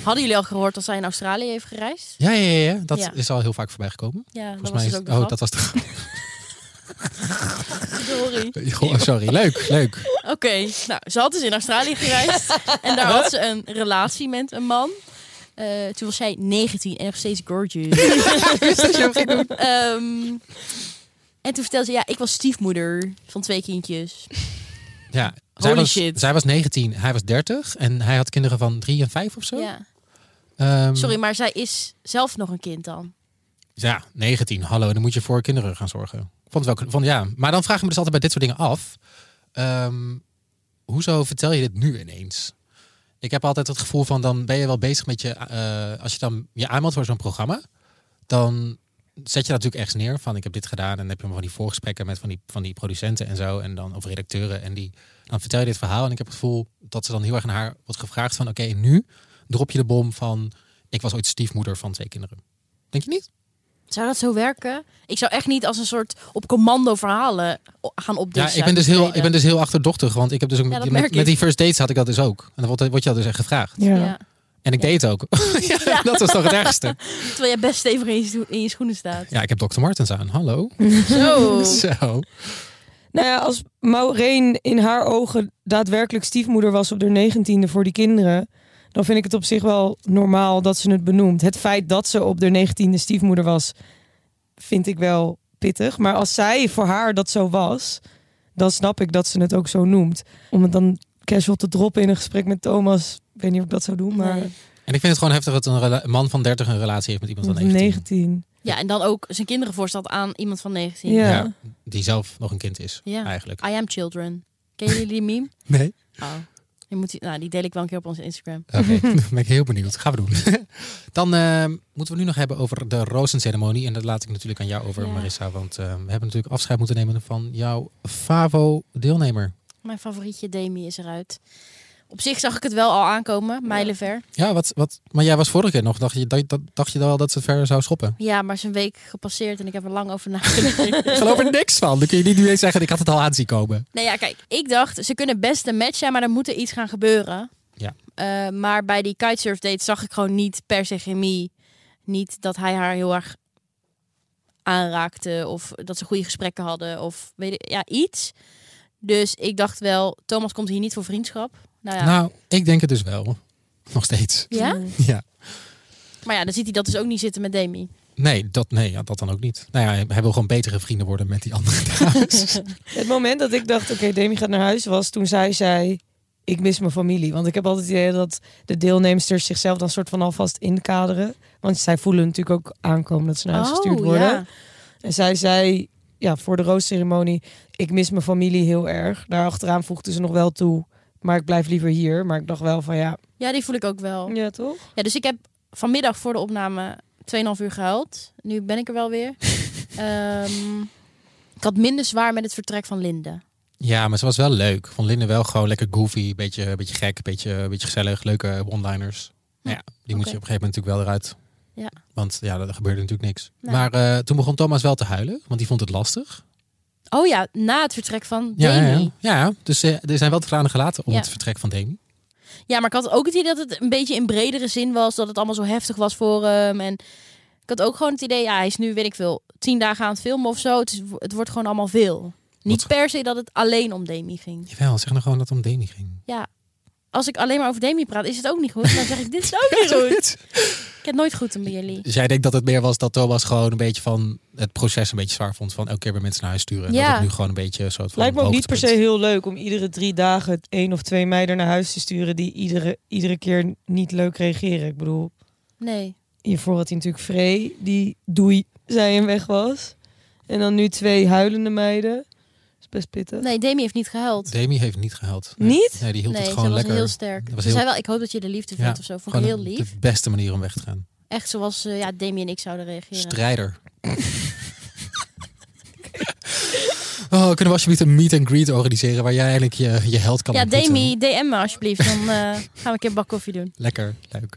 Hadden jullie al gehoord dat zij in Australië heeft gereisd?
Ja, ja, ja. ja. Dat
Ja.
is al heel vaak voorbij gekomen.
Ja, dat was
Volgens
dus
mij is-
ook de
Oh,
grap.
dat was de...
Sorry.
Goh, sorry. Leuk, leuk.
Oké, nou, ze had dus in Australië gereisd. en daar had ze een relatie met een man. Eh, toen was zij 19 en nog steeds gorgeous. Ehm, en toen vertelde ze, ja, ik was stiefmoeder van twee kindjes.
Ja, zij was,
shit.
zij was 19, hij was 30 en hij had kinderen van 3 en 5 of zo.
Ja.
Ehm,
Sorry, maar zij is zelf nog een kind dan.
Ja, 19, hallo, dan moet je voor kinderen gaan zorgen. Ik Vond het wel, vond, ja. Maar dan vraag ik me dus altijd bij dit soort dingen af. ehm, hoezo vertel je dit nu ineens? Ik heb altijd het gevoel van, dan ben je wel bezig met je... eh, als je dan je aanmeldt voor zo'n programma, dan zet je dat natuurlijk ergens neer. Van, ik heb dit gedaan en dan heb je van die voorgesprekken met van die, van die producenten en zo. En dan, of redacteuren. En die, dan vertel je dit verhaal en ik heb het gevoel dat ze dan heel erg naar haar wordt gevraagd van... Oké, nu drop je de bom van, ik was ooit stiefmoeder van twee kinderen. Denk je niet?
Zou dat zo werken? Ik zou echt niet als een soort op commando verhalen o- gaan
Ja,
opdissen.
ik ben, dus heel, ik ben dus heel achterdochtig. Want ik heb dus ook met,
dat merk
met, met
ik.
die first dates had ik dat dus ook. En dan word, word je dat dus echt gevraagd.
ja.
Ja.
En ik deed het ook. Ja, Dat was toch het ergste.
Terwijl jij best stevig in je, scho- in je schoenen staat.
Ja, ik heb Dr. Martens aan. Hallo.
Zo.
Zo.
Nou ja, als Maureen in haar ogen daadwerkelijk stiefmoeder was op haar negentiende voor die kinderen. Dan vind ik het op zich wel normaal dat ze het benoemt. Het feit dat ze op haar negentiende stiefmoeder was, vind ik wel pittig. Maar als zij voor haar dat zo was, dan snap ik dat ze het ook zo noemt. Om het dan casual te droppen in een gesprek met Thomas. Ik weet niet of ik dat zou doen, maar
Nee.
En ik vind het gewoon heftig dat een rela- man van 30 een relatie heeft met iemand van 19.
19.
Ja, en dan ook zijn kinderen voorstelt aan iemand van 19.
Ja.
Ja. Die zelf nog een kind is,
Ja.
eigenlijk.
I am children. Ken jullie die meme?
Nee?
Oh. Die, moet, nou, die deel ik wel een keer op onze Instagram.
Oké, dan ben ik heel benieuwd. Gaan we doen. Dan eh, moeten we nu nog hebben over de rozenceremonie. En dat laat ik natuurlijk aan jou over,
Ja.
Marissa. Want eh, we hebben natuurlijk afscheid moeten nemen van jouw FAVO-deelnemer.
Mijn favorietje Demi is eruit. Op zich zag ik het wel al aankomen, mijlenver.
Ja, wat, wat, maar jij was vorige keer nog. Dacht je, dacht, dacht je wel dat ze het verder zou schoppen?
Ja, maar zijn week gepasseerd en ik heb er lang over nagedacht.
Ik geloof er niks van. Dan kun je niet nu eens zeggen, ik had het al aan zien komen.
nee, ja, kijk, ik dacht, ze kunnen best een match zijn, maar er moet er iets gaan gebeuren.
Ja.
Eh, maar bij die kitesurf date zag ik gewoon niet per se chemie. Niet dat hij haar heel erg aanraakte of dat ze goede gesprekken hadden of weet ik, ja, iets. Dus ik dacht wel, Thomas komt hier niet voor vriendschap. Nou ja.
Nou, ik denk het dus wel. Nog steeds.
ja?
Ja.
Maar ja, dan ziet hij dat dus ook niet zitten met Demi.
Nee, dat, nee, ja, dat dan ook niet. Nou ja, hij wil gewoon betere vrienden worden met die andere dames.
Het moment dat ik dacht, oké, Demi gaat naar huis, was toen zij zei, ik mis mijn familie. Want ik heb altijd het idee dat de deelnemsters zichzelf dan soort van alvast inkaderen. Want zij voelen natuurlijk ook aankomen dat ze naar huis gestuurd worden.
Oh, ja.
En zij zei, ja, voor de roosceremonie, ik mis mijn familie heel erg. Daarachteraan voegde ze nog wel toe, maar ik blijf liever hier. Maar ik dacht wel van, ja,
Ja, die voel ik ook wel.
ja toch?
Ja, dus ik heb vanmiddag voor de opname 2,5 uur gehuild. Nu ben ik er wel weer. Ehm, ik had minder zwaar met het vertrek van Linde.
ja, maar ze was wel leuk. Vond Linde wel gewoon lekker goofy. Beetje, beetje gek, beetje, beetje gezellig. Leuke one-liners. Maar ja, die moet
oké.
je op een gegeven moment natuurlijk wel eruit.
Ja.
Want ja, er gebeurde natuurlijk niks.
Nee.
Maar eh, toen begon Thomas wel te huilen. Want die vond het lastig.
Oh ja, na het vertrek van
Ja,
Demi.
ja,
Ja,
ja. ja dus eh, er zijn wel tranen gelaten om
Ja.
het vertrek van Demi.
maar ik had ook het idee dat het een beetje in bredere zin was. Dat het allemaal zo heftig was voor hem. En ik had ook gewoon het idee, ja, hij is nu, weet ik veel, tien dagen aan het filmen of zo. Het, is- het wordt gewoon allemaal veel. Niet
Wat-
per se dat het alleen om Demi ging.
Jawel, zeg nou gewoon dat het om Demi ging.
Ja, als ik alleen maar over Demi praat, is het ook niet goed. Dan zeg ik, dit is ook niet goed. Ik heb nooit goed bij jullie.
Dus jij denkt dat het meer was dat Thomas gewoon een beetje van het proces een beetje zwaar vond. Van elke keer weer mensen naar huis sturen. En
Ja.
dat het nu gewoon een beetje een soort van
Lijkt me ook niet per se
hoogtepunt.
heel leuk om iedere drie dagen één of twee meiden naar huis te sturen die iedere, iedere keer niet leuk reageren. Ik bedoel,
Nee.
hiervoor had hij natuurlijk Free, die doei zei en weg was. En dan nu twee huilende meiden. is best pittig.
Nee, Demi heeft niet gehuild.
Demi heeft niet gehuild. Nee.
Niet?
Nee, die hield
nee,
het
ze
gewoon
was
lekker.
heel sterk.
Dat was
Ze
heel-
zei wel, ik hoop dat je de liefde
Ja,
vindt of zo. Vond ik
Gewoon
heel
een-
lief.
de beste manier om weg te gaan.
Echt zoals eh, ja, Demi en ik zouden reageren.
Strijder. oh, kunnen we alsjeblieft een meet and greet organiseren waar jij eigenlijk je, je held kan
ja,
ontmoeten?
Demi, DM me alsjeblieft. Dan eh, gaan we een keer bak koffie doen.
Lekker, leuk.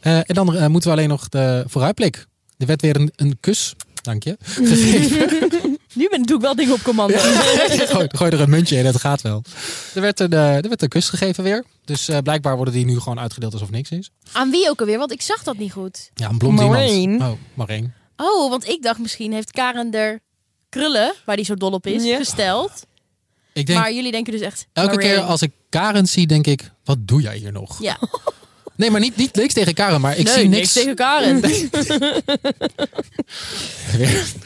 Eh, en dan eh, moeten we alleen nog de vooruitblik. Er werd weer een, een kus, dank je,
Mm.
gegeven.
Nu ben, doe ik wel dingen op commando.
gooi, gooi er een muntje in, het gaat wel. Er werd een, eh, er werd een kus gegeven weer. Dus eh, blijkbaar worden die nu gewoon uitgedeeld alsof niks is.
Aan wie ook alweer, want ik zag dat niet goed.
Ja, een blond iemand.
Maureen.
Oh, Maureen.
Oh, want ik dacht misschien heeft Karen er krullen, waar die zo dol op is,
Ja.
gesteld.
Ik denk,
Maar jullie denken dus echt...
elke
Maureen.
keer als ik Karen zie, denk ik, wat doe jij hier nog?
Ja.
Nee, maar niet, niet niks tegen Karen, maar ik
nee,
zie
niks tegen Karen.
Weer-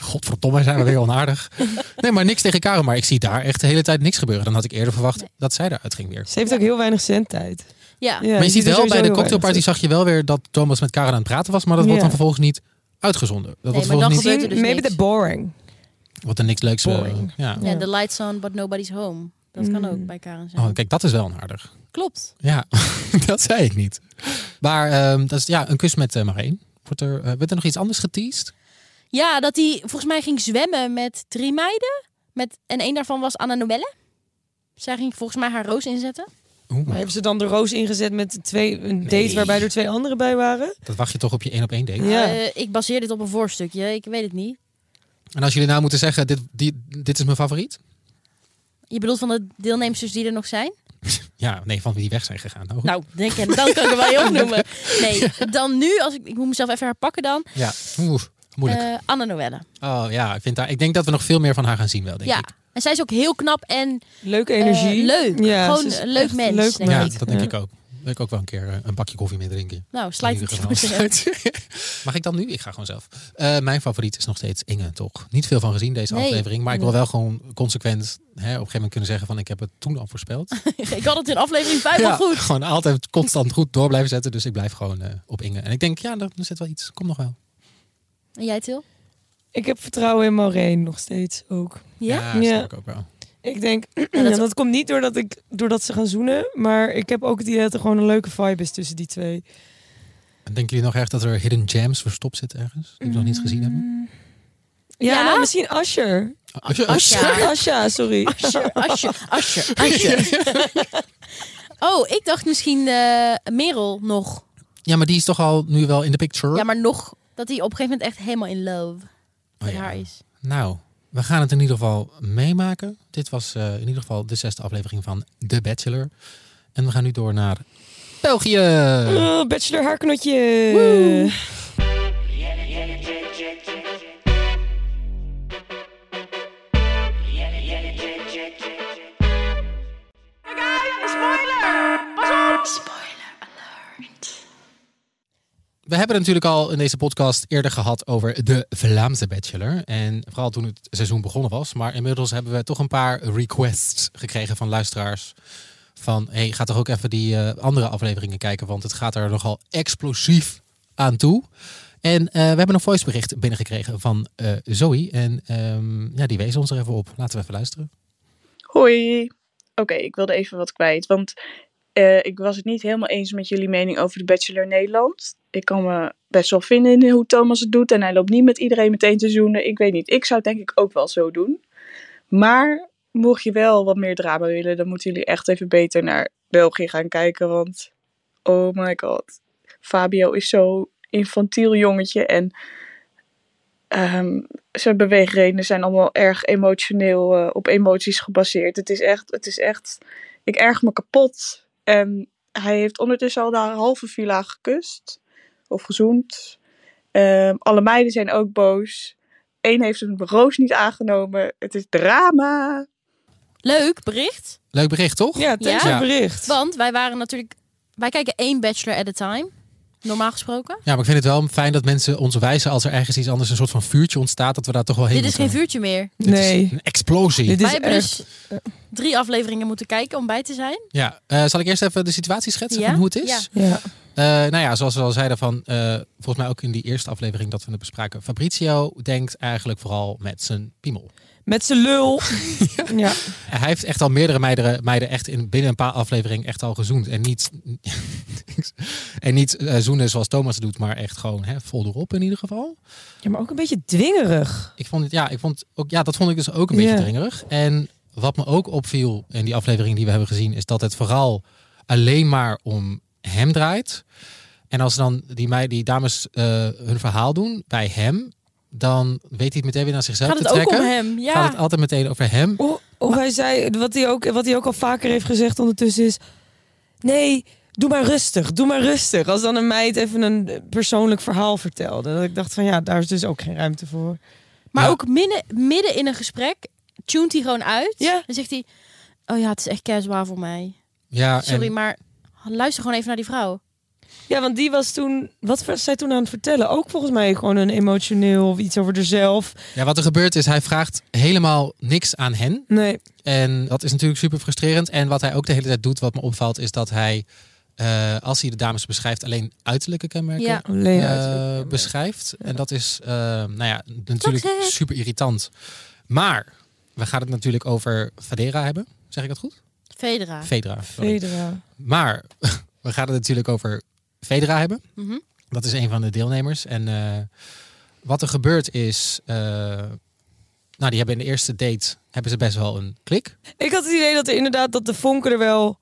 Godverdomme, zijn we weer onaardig. Nee, maar niks tegen Karen. Maar ik zie daar echt de hele tijd niks gebeuren. Dan had ik eerder verwacht dat zij eruit ging weer.
Ze heeft ook heel weinig zendtijd.
Ja.
Ja,
maar je
die
ziet
doet
wel,
er
bij de
sowieso heel
cocktailparty
weinig.
zag je wel weer dat Thomas met Karen aan het praten was. Maar dat wordt
Ja.
dan vervolgens niet uitgezonden. Dat wordt
maar dan
vervolgens niet...
gebeurt er dus
Maybe
niks.
the boring.
Wat er niks leuks... eh,
Boring.
ja.
Ja, the lights on, but nobody's home. Dat kan
Mm.
ook bij Karen zijn.
Oh, kijk, dat is wel onaardig.
Klopt.
Ja, dat zei ik niet. Maar ehm, dat is ja, een kus met eh Marijn. Wordt er, eh, werd er nog iets anders geteased?
Ja, dat hij volgens mij ging zwemmen met drie meiden. Met, en één daarvan was Anna Noelle. Zij ging volgens mij haar roos inzetten.
Oeh,
Maar hebben ze dan de roos ingezet met twee, een date
Nee.
waarbij er twee anderen bij waren?
dat wacht je toch op je één op één date.
Ja.
Eh, ik baseer dit op een voorstukje, ik weet het niet.
En als jullie nou moeten zeggen, dit, die, dit is mijn favoriet.
Je bedoelt van de deelnemers die er nog zijn?
Ja, nee, van wie die weg zijn gegaan. Nou, goed.
Nou, denk je, dan kan ik er wel je opnoemen. Nee, dan nu, als ik, ik moet mezelf even herpakken dan.
Ja, oeh, moeilijk.
Eh, Anna Noelle.
Oh ja, ik, vind daar, ik denk dat we nog veel meer van haar gaan zien wel, denk
Ja.
ik.
En zij is ook heel knap en
Leuke energie.
Eh, leuk. Gewoon
ze is
een leuk
echt
mens,
leuk
denk
ja,
ik.
dat denk
Ja.
ik ook. Wil ik ook wel een keer eh, een bakje koffie mee drinken.
nou, slijt
In
het
ieder
goed.
geval.
hè.
Mag ik dan nu? Ik ga gewoon zelf. Eh, mijn favoriet is nog steeds Inge, toch? Niet veel van gezien deze
Nee.
aflevering. Maar ik wil wel gewoon consequent hè, op een gegeven moment kunnen zeggen van ik heb het toen al voorspeld.
ik had het in aflevering 5 al Ah, goed.
Gewoon altijd constant goed door blijven zetten. Dus ik blijf gewoon eh, op Inge. En ik denk, ja, er, er zit wel iets. Kom nog wel.
En jij, Til?
Ik heb vertrouwen in Maureen nog steeds ook.
Ja?
dat
Ja.
snap ik ook wel.
Ik denk,
dat-
en dat, komt niet doordat, ik, doordat ze gaan zoenen, maar ik heb ook het idee dat er gewoon een leuke vibe is tussen die twee.
En denken jullie nog echt dat er hidden gems verstopt zitten ergens? Die we nog niet gezien hebben?
Mm.
Ja,
Ja?
nou, misschien Asher.
Asje,
Asja.
Asha, sorry.
Asje, asje, asje, asje. Oh, ik dacht misschien eh Merel nog.
Ja, maar die is toch al nu wel in de picture?
Ja, maar nog. Dat hij op een gegeven moment echt helemaal in love
Oh
met
ja.
haar is.
Nou, we gaan het in ieder geval meemaken. Dit was eh, in ieder geval de zesde aflevering van The Bachelor. En we gaan nu door naar België.
Oh, bachelor haarknotje.
We hebben het natuurlijk al in deze podcast eerder gehad over de Vlaamse Bachelor. En vooral toen het seizoen begonnen was. Maar inmiddels hebben we toch een paar requests gekregen van luisteraars. Van, hey, ga toch ook even die eh, andere afleveringen kijken. Want het gaat er nogal explosief aan toe. En eh, we hebben een voicebericht binnengekregen van eh, Zoe. En ehm, ja, die wees ons er even op. Laten we even luisteren.
Hoi. Oké, ik wilde even wat kwijt, want eh, ik was het niet helemaal eens met jullie mening over de Bachelor Nederland. Ik kan me best wel vinden in hoe Thomas het doet en hij loopt niet met iedereen meteen te zoenen. Ik weet niet, ik zou het denk ik ook wel zo doen. Maar mocht je wel wat meer drama willen, dan moeten jullie echt even beter naar België gaan kijken, want oh my god. Fabio is zo'n infantiel jongetje en ehm, zijn beweegredenen zijn allemaal erg emotioneel, eh, op emoties gebaseerd. Het is echt, het is echt, ik erg me kapot. En hij heeft ondertussen al de halve villa gekust of gezoend. Ehm, alle meiden zijn ook boos. Eén heeft een roos niet aangenomen. Het is drama.
Leuk bericht.
Leuk bericht, toch?
Ja, thanks
Ja.
voor het bericht.
Want wij waren natuurlijk... Wij kijken één Bachelor at a time. Normaal gesproken.
Ja, maar ik vind het wel fijn dat mensen ons wijzen als er ergens iets anders, een soort van vuurtje ontstaat, dat we daar toch wel heen
Dit is geen
moeten.
vuurtje meer.
Dit is
Nee.
Een explosie.
Dit
wij
is
hebben
echt...
dus drie afleveringen moeten kijken om bij te zijn.
Ja, eh, zal ik eerst even de situatie schetsen
Ja?
van hoe het is?
Ja.
Ja.
Eh, nou ja, zoals we al zeiden, van, eh, volgens mij ook in die eerste aflevering dat we het bespraken. Fabrizio denkt eigenlijk vooral met zijn piemel.
Met zijn lul. ja.
Hij heeft echt al meerdere meiden, meiden echt in, binnen een paar afleveringen echt al gezoend. En niet, en niet eh, zoenen zoals Thomas het doet, maar echt gewoon hè, vol erop in ieder geval.
ja, maar ook een beetje dwingerig.
Ik vond het, ja, ik vond ook, ja, dat vond ik dus ook een beetje
Ja.
dringerig. En wat me ook opviel in die aflevering die we hebben gezien, is dat het vooral alleen maar om hem draait. En als dan die, mei- die dames eh, hun verhaal doen bij hem, dan weet hij het meteen weer naar zichzelf
Gaat
te
het ook
trekken.
om hem? Ja.
Gaat het altijd meteen over hem.
Of, of hij zei, wat hij, ook, wat hij ook al vaker heeft gezegd ondertussen is... Nee, doe maar rustig, doe maar rustig. Als dan een meid even een eh, persoonlijk verhaal vertelde. Dat ik dacht van ja, daar is dus ook geen ruimte voor.
Maar
Ja.
ook midden, midden in een gesprek tunt hij gewoon uit.
Ja.
Dan zegt hij, oh ja, het is echt casual voor mij.
Ja,
Sorry,
en,
maar luister gewoon even naar die vrouw.
Ja, want die was toen... Wat was zij toen aan het vertellen? Ook volgens mij gewoon een emotioneel of iets over zichzelf.
ja, wat er gebeurt is, hij vraagt helemaal niks aan hen.
Nee.
En dat is natuurlijk super frustrerend. En wat hij ook de hele tijd doet, wat me opvalt, is dat hij, eh, als hij de dames beschrijft, alleen uiterlijke kenmerken
Ja.
Alleen
eh,
uiterlijk.
beschrijft. En dat is eh, nou ja, natuurlijk
Toxic.
super irritant. Maar we gaan het natuurlijk over Federa hebben. Zeg ik dat goed?
Federa.
Federa. sorry.
Federa.
Maar we gaan het natuurlijk over Federa hebben.
Mhm.
Dat is een van de deelnemers. En eh, wat er gebeurt is. eh, nou, die hebben in de eerste date hebben ze best wel een klik.
Ik had het idee dat er inderdaad dat de vonken er wel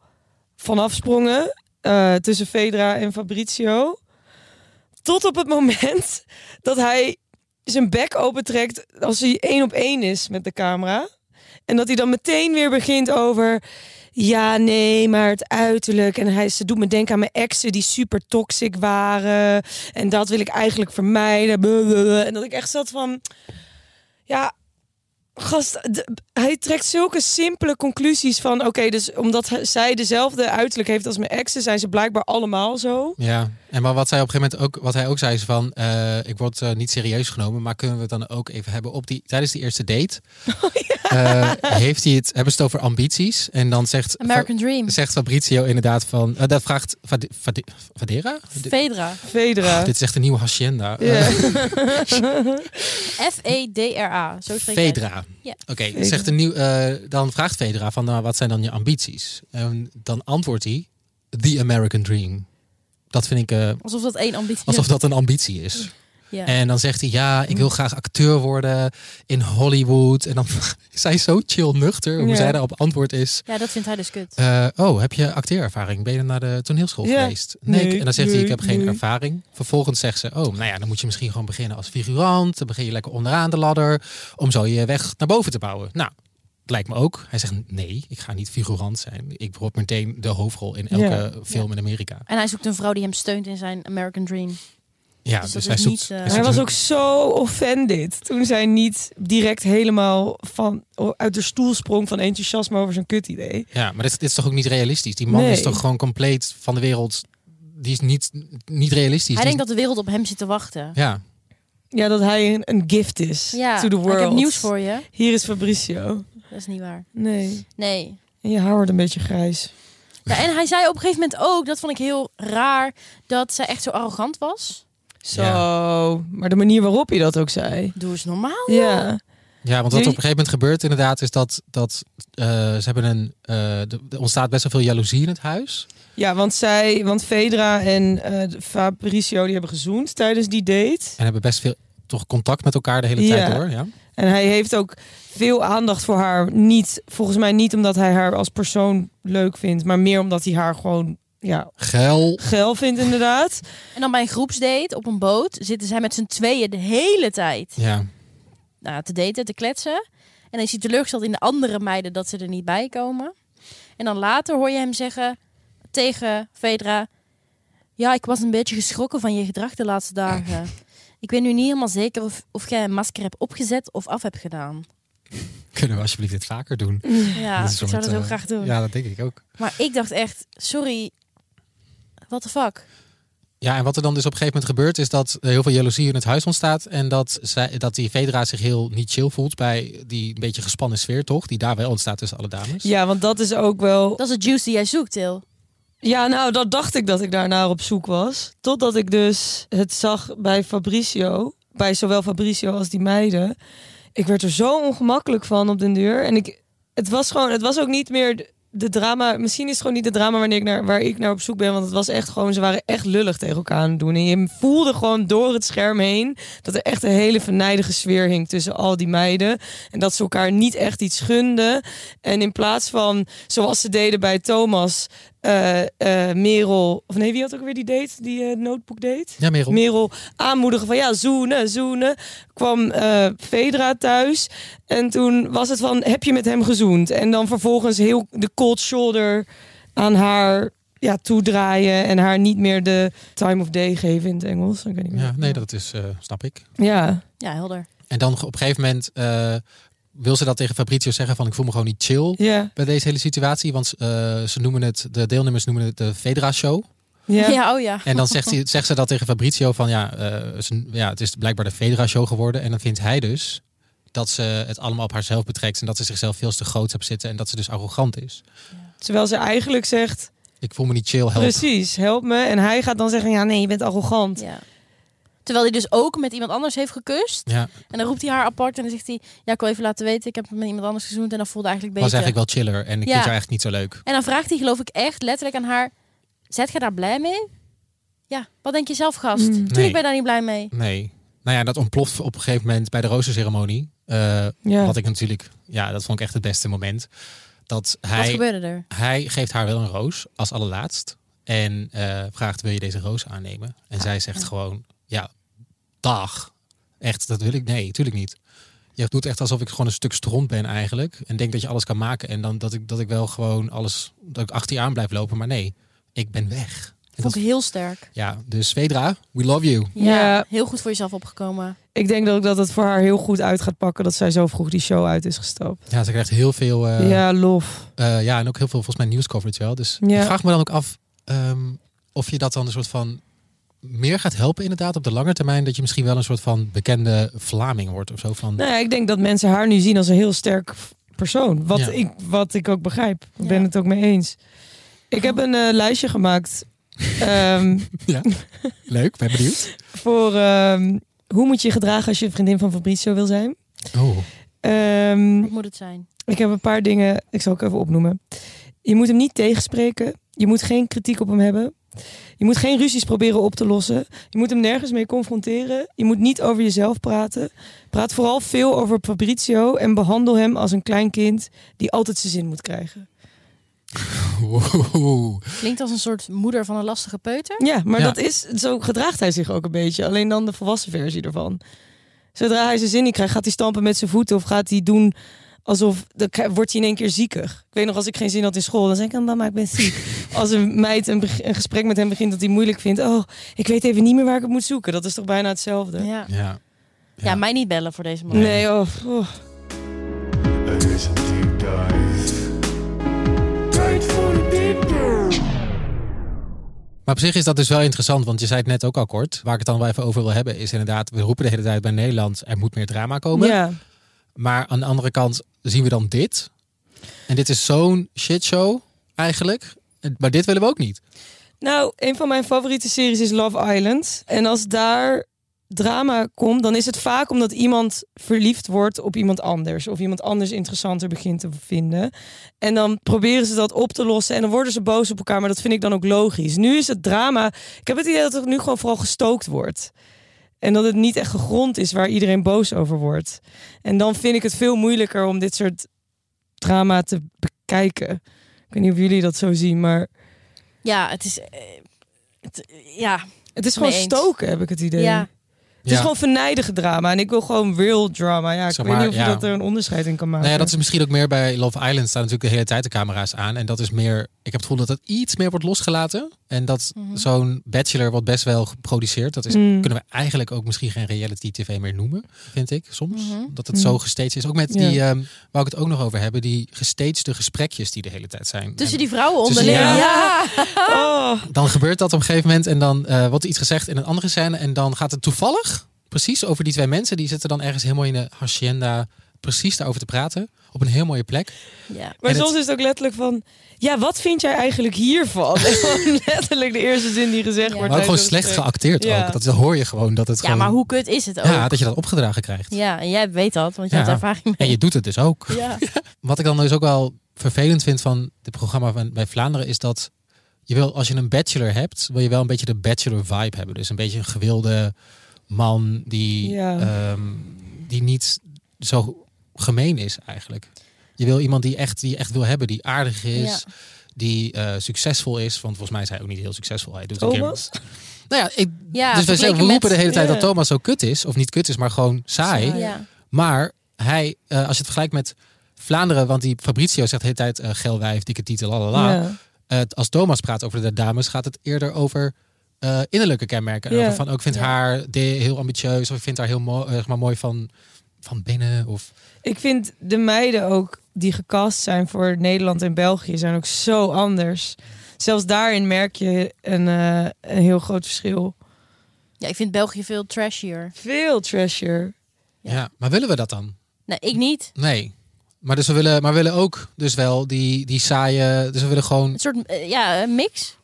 vanaf sprongen. eh, tussen Fedra en Fabrizio. Tot op het moment dat hij zijn bek opentrekt als hij één op één is met de camera. En dat hij dan meteen weer begint over... Ja, nee, maar het uiterlijk. En hij, ze doet me denken aan mijn exen die super toxic waren. En dat wil ik eigenlijk vermijden. Blablabla. En dat ik echt zat van... Ja, Gast, d- hij trekt zulke simpele conclusies van... Oké, dus omdat hij- zij dezelfde uiterlijk heeft als mijn exen... zijn ze blijkbaar allemaal zo.
Ja. En maar wat, zij op een gegeven moment ook, wat hij ook zei is van... eh, ik word eh, niet serieus genomen, maar kunnen we het dan ook even hebben op die... Tijdens die eerste date
Oh,
eh, heeft hij het, hebben ze het over ambities. En dan zegt,
American Dream.
zegt Fabrizio inderdaad van... eh, dat vraagt Fade- Fade- Fadera? Oh,
Federa.
Fedra.
Dit is echt een nieuwe hacienda.
Ja.
Eh,
E F-E-D-R-A. Zo spreek je het.
Fedra.
Ja.
Oké, zegt een nieuw. eh, dan vraagt Fedra van, nou, wat zijn dan je ambities? En dan antwoordt hij, The American Dream. Dat vind ik eh,
Alsof dat één ambitie
alsof
is.
dat een ambitie is.
Ja.
En dan zegt hij, ja,
Mhm.
ik wil graag acteur worden in Hollywood. En dan is hij zo chill nuchter hoe
Ja.
zij daarop antwoord is.
ja, dat vindt hij dus kut.
eh, oh, heb je acteerervaring? Ben je naar de toneelschool
Ja.
geweest? Nee.
Nee,
En dan zegt hij,
nee,
ik heb geen
nee.
ervaring. Vervolgens zegt ze, oh, nou ja, dan moet je misschien gewoon beginnen als figurant. Dan begin je lekker onderaan de ladder. Om zo je weg naar boven te bouwen. Nou, het lijkt me ook. Hij zegt, nee, ik ga niet figurant zijn. Ik word meteen de hoofdrol in elke
Ja.
film in Amerika.
En hij zoekt een vrouw die hem steunt in zijn American Dream.
Ja,
Dus
dus,
dat is
hij zoekt...
niet, eh,
hij
Hij
zoekt
Hij was
een-
ook zo offended toen zij niet direct helemaal van, uit de stoel sprong... van enthousiasme over zijn kut idee.
Ja, maar dit, is- dit is toch ook niet realistisch? Die man
Nee.
is toch gewoon compleet van de wereld... Die is niet, niet realistisch.
Hij
Die is-
denkt dat de wereld op hem zit te wachten.
Ja,
Ja, dat hij een, een gift is
Ja,
to the
maar
world.
ik heb nieuws voor je.
Hier is Fabrizio.
Dat is niet waar.
Nee.
Nee.
En je haar wordt een beetje grijs.
Ja, en hij zei op een gegeven moment ook, dat vond ik heel raar, dat zij echt zo arrogant was.
Zo.
Ja.
Maar de manier waarop je dat ook zei.
Doe eens normaal.
Ja.
Ja, want wat er op
Nu-
een gegeven moment gebeurt inderdaad is dat, dat eh, ze hebben een, eh, de- er ontstaat best wel veel jaloezie in het huis.
Ja, want zij, want Fedra en eh Fabrizio die hebben gezoend tijdens die date.
En hebben best veel toch contact met elkaar de hele tijd
Ja.
door. Ja.
En hij heeft ook veel aandacht voor haar. Niet, volgens mij niet omdat hij haar als persoon leuk vindt, maar meer omdat hij haar gewoon ja,
Geil.
geil vindt inderdaad.
En dan bij een groepsdate op een boot zitten zij met z'n tweeën de hele tijd
Ja.
nou, te daten, te kletsen. En dan is hij teleurgesteld in de andere meiden dat ze er niet bij komen. En dan later hoor je hem zeggen tegen Fedra... Ja, ik was een beetje geschrokken van je gedrag de laatste dagen. Ik weet nu niet helemaal zeker of, of jij een masker hebt opgezet of af hebt gedaan.
Kunnen we alsjeblieft dit vaker doen?
Ja,
Dat
ik
is wel
zou
met,
dat heel
eh,
graag doen.
Ja, dat denk ik ook.
Maar ik dacht echt, sorry, what the fuck?
Ja, en wat er dan dus op een gegeven moment gebeurt, is dat er heel veel jaloezie in het huis ontstaat. En dat, zij, dat die Vedra zich heel niet chill voelt bij die een beetje gespannen sfeer, toch? Die daar wel ontstaat tussen alle dames.
Ja, want dat is ook wel...
Dat is de juice die jij zoekt, Til.
Ja, nou, dat dacht ik dat ik daarnaar op zoek was. Totdat ik dus het zag bij Fabrizio. Bij zowel Fabrizio als die meiden. Ik werd er zo ongemakkelijk van op den duur. En ik, het was gewoon, het was ook niet meer de- de drama. Misschien is het gewoon niet de drama wanneer ik naar, waar ik naar op zoek ben. Want het was echt gewoon, ze waren echt lullig tegen elkaar aan het doen. En je voelde gewoon door het scherm heen dat er echt een hele vernijdige sfeer hing tussen al die meiden. En dat ze elkaar niet echt iets gunden. En in plaats van, zoals ze deden bij Thomas, eh, eh, Merel... Of nee, wie had ook weer die date? Die eh, notebook date?
Ja, Merel.
Merel aanmoedigen van ja, zoenen, zoenen. Kwam eh Fedra thuis en toen was het van heb je met hem gezoend? En dan vervolgens heel de cold shoulder aan haar ja, toedraaien en haar niet meer de time of day geven in het Engels. Ik weet niet meer.
ja, nee, dat is, eh, snap ik.
ja.
Ja, helder.
En dan op een gegeven moment eh, wil ze dat tegen Fabrizio zeggen van ik voel me gewoon niet chill
Ja,
bij deze hele situatie. Want eh, ze noemen het, de deelnemers noemen het de Vedra show.
ja.
Ja, oh ja.
En dan zegt, hij, zegt ze dat tegen Fabrizio van ja, eh, ze- ja, het is blijkbaar de Federa show geworden. En dan vindt hij dus dat ze het allemaal op haarzelf betrekt en dat ze zichzelf veel te groot hebt zitten en dat ze dus arrogant is.
Terwijl ze eigenlijk zegt,
Ik voel me niet chill, help.
precies, help me. En hij gaat dan zeggen, ja nee, je bent arrogant.
Ja. Terwijl hij dus ook met iemand anders heeft gekust.
Ja,
En dan roept hij haar apart en dan zegt hij... Ja, ik wil even laten weten, ik heb met iemand anders gezoend. En dat voelde eigenlijk
was
beter.
eigenlijk wel chiller en ik
Ja.
vind jou echt niet zo leuk.
En dan vraagt hij geloof ik echt letterlijk aan haar... Zet jij daar blij mee? Ja, wat denk je zelf, gast?
Mm.
Natuurlijk
Nee.
ben je daar niet blij mee.
Nee. Nou ja, dat ontploft op een gegeven moment bij de rozenceremonie. Eh
Ja.
Wat ik natuurlijk, ja, dat vond ik echt het beste moment. Dat
Wat
hij,
gebeurde er?
hij geeft haar wel een roos als allerlaatst. En eh, vraagt, wil je deze roos aannemen? En zij zegt gewoon, ja, dag. Echt, dat wil ik. Nee, tuurlijk niet. Je doet echt alsof ik gewoon een stuk stront ben eigenlijk. En denk dat je alles kan maken. En dan dat ik, dat ik wel gewoon alles, dat ik achter je aan blijf lopen. Maar nee, ik ben weg. En
Vond
dat-
ik heel sterk.
ja, dus Vedra, we love you.
Ja,
Ja.
heel goed voor jezelf opgekomen.
Ik denk dat ook dat het voor haar heel goed uit gaat pakken dat zij zo vroeg die show uit is gestapt.
Ja, ze krijgt heel veel... eh,
ja, lof.
Eh, ja, en ook heel veel volgens mij nieuwscoverage wel. Dus
Ja.
ik vraag me dan ook af ehm, of je dat dan een soort van meer gaat helpen inderdaad op de lange termijn. Dat je misschien wel een soort van bekende Vlaming wordt of zo. Van,
Nou ja, ik denk dat mensen haar nu zien als een heel sterk persoon. Wat,
Ja.
ik, wat ik ook begrijp. Ik ben
Ja.
het ook mee eens. Ik heb een eh, lijstje gemaakt ehm,
Leuk, ben benieuwd.
voor ehm, hoe moet je je gedragen als je vriendin van Fabrizio wil zijn.
Oh,
Ehm,
Wat moet het zijn?
ik heb een paar dingen, ik zal ook even opnoemen. Je moet hem niet tegenspreken. Je moet geen kritiek op hem hebben. Je moet geen ruzies proberen op te lossen. Je moet hem nergens mee confronteren. Je moet niet over jezelf praten. Praat vooral veel over Fabrizio en behandel hem als een klein kind die altijd zijn zin moet krijgen.
Wow.
Klinkt als een soort moeder van een lastige peuter.
Ja, maar
Ja.
dat is zo gedraagt hij zich ook een beetje. Alleen dan de volwassen versie ervan. Zodra hij zijn zin niet krijgt, gaat hij stampen met zijn voeten of gaat hij doen alsof dan k- wordt hij in één keer ziekig. Ik weet nog als ik geen zin had in school, dan zei ik dan mama ik ben ziek. als een meid een, beg- een gesprek met hem begint dat hij moeilijk vindt, oh ik weet even niet meer waar ik het moet zoeken. Dat is toch bijna hetzelfde.
Ja.
Ja.
Ja. mij niet bellen voor deze man.
Nee, oh, oh.
Er is een diep dive. Tijd voor de diep dive.
Maar op zich is dat dus wel interessant, want je zei het net ook al kort. Waar ik het dan wel even over wil hebben is inderdaad, we roepen de hele tijd bij Nederland, er moet meer drama komen.
ja.
Maar aan de andere kant zien we dan dit. En dit is zo'n shitshow eigenlijk. En- Maar dit willen we ook niet.
Nou, een van mijn favoriete series is Love Island. En als daar drama komt, dan is het vaak omdat iemand verliefd wordt op iemand anders. Of iemand anders interessanter begint te vinden. En dan proberen ze dat op te lossen. En dan worden ze boos op elkaar. Maar dat vind ik dan ook logisch. Nu is het drama. Ik heb het idee dat het nu gewoon vooral gestookt wordt. En dat het niet echt gegrond is waar iedereen boos over wordt. En dan vind ik het veel moeilijker om dit soort drama te bekijken. Ik weet niet of jullie dat zo zien, maar
Ja, het is... eh, het- ja,
het is gewoon
Mee eens.
stoken, heb ik het idee.
ja.
Het is gewoon vernijdige drama. En ik wil gewoon real drama. Ja, ik
Zeg
weet
maar,
niet of je
ja.
dat er een onderscheid in kan maken.
Nou ja, dat is misschien ook meer bij Love Island staan natuurlijk de hele tijd de camera's aan. En dat is meer, ik heb het gevoel dat dat iets meer wordt losgelaten. En dat zo'n Bachelor wordt best wel geproduceerd. Dat is,
Mm.
kunnen we eigenlijk ook misschien geen reality tv meer noemen, vind ik soms.
Mhm.
Dat het zo gestaged is. Ook met
Ja.
die, ehm wou ik het ook nog over hebben, die gestagede gesprekjes die de hele tijd zijn.
Tussen
En-
Dus die vrouwen
Tussen- ja.
onderling. Ja.
Oh,
dan gebeurt dat op een gegeven moment en dan eh, wordt er iets gezegd in een andere scène en dan gaat het toevallig precies over die twee mensen. Die zitten dan ergens helemaal in de hacienda precies daarover te praten op een heel mooie plek.
Ja.
maar
En het-
soms is het ook letterlijk van... Ja, wat vind jij eigenlijk hiervan? En gewoon letterlijk de eerste zin die gezegd
Ja.
wordt.
Maar ook gewoon
tijdens het
slecht
gesprek.
geacteerd
Ja.
ook. Dat dat hoor je gewoon dat het
ja,
gewoon
maar hoe kut is het ook?
ja,
Ja,
dat je dat opgedragen krijgt.
en jij weet dat, want je
Ja.
hebt ervaring
En
mee.
je doet het dus ook.
Ja.
Wat ik dan dus ook wel vervelend vind van dit programma van, bij Vlaanderen is dat je wil, als je een bachelor hebt, wil je wel een beetje de bachelor vibe hebben. Dus een beetje een gewilde man die,
Ja.
ehm, die niet zo gemeen is eigenlijk. Je wil iemand die echt, die je echt wil hebben, die aardig is, die eh, succesvol is. Want volgens mij is hij ook niet heel succesvol. Hij doet een keer-
Thomas?
Nou ja, ik,
Ja,
dus we, zeggen, we
vergeleken
roepen de
met-
hele tijd
Ja.
dat Thomas zo kut is. Of niet kut is, maar gewoon saai.
Saai.
Ja.
Maar hij, eh, als je het vergelijkt met Vlaanderen, want die Fabrizio zegt de hele tijd eh geel wijf, dikke titel, lalala.
Ja.
Eh, als Thomas praat over de dames, gaat het eerder over eh, innerlijke kenmerken. En
Ja.
over van, ook ik vind
Ja.
haar de- heel ambitieus, of ik vind haar heel mooi, eh, zeg maar mooi van, van binnen. Of,
Ik vind de meiden ook die gecast zijn voor Nederland en België zijn ook zo anders. Zelfs daarin merk je een, eh, een heel groot verschil.
ja, ik vind België veel trashier.
Veel treasure.
ja. Maar willen we dat dan?
Nee, ik niet.
Nee. Maar, dus we, willen, maar we willen ook dus wel die, die saaie... Dus we willen gewoon
Een soort eh, ja, een mix.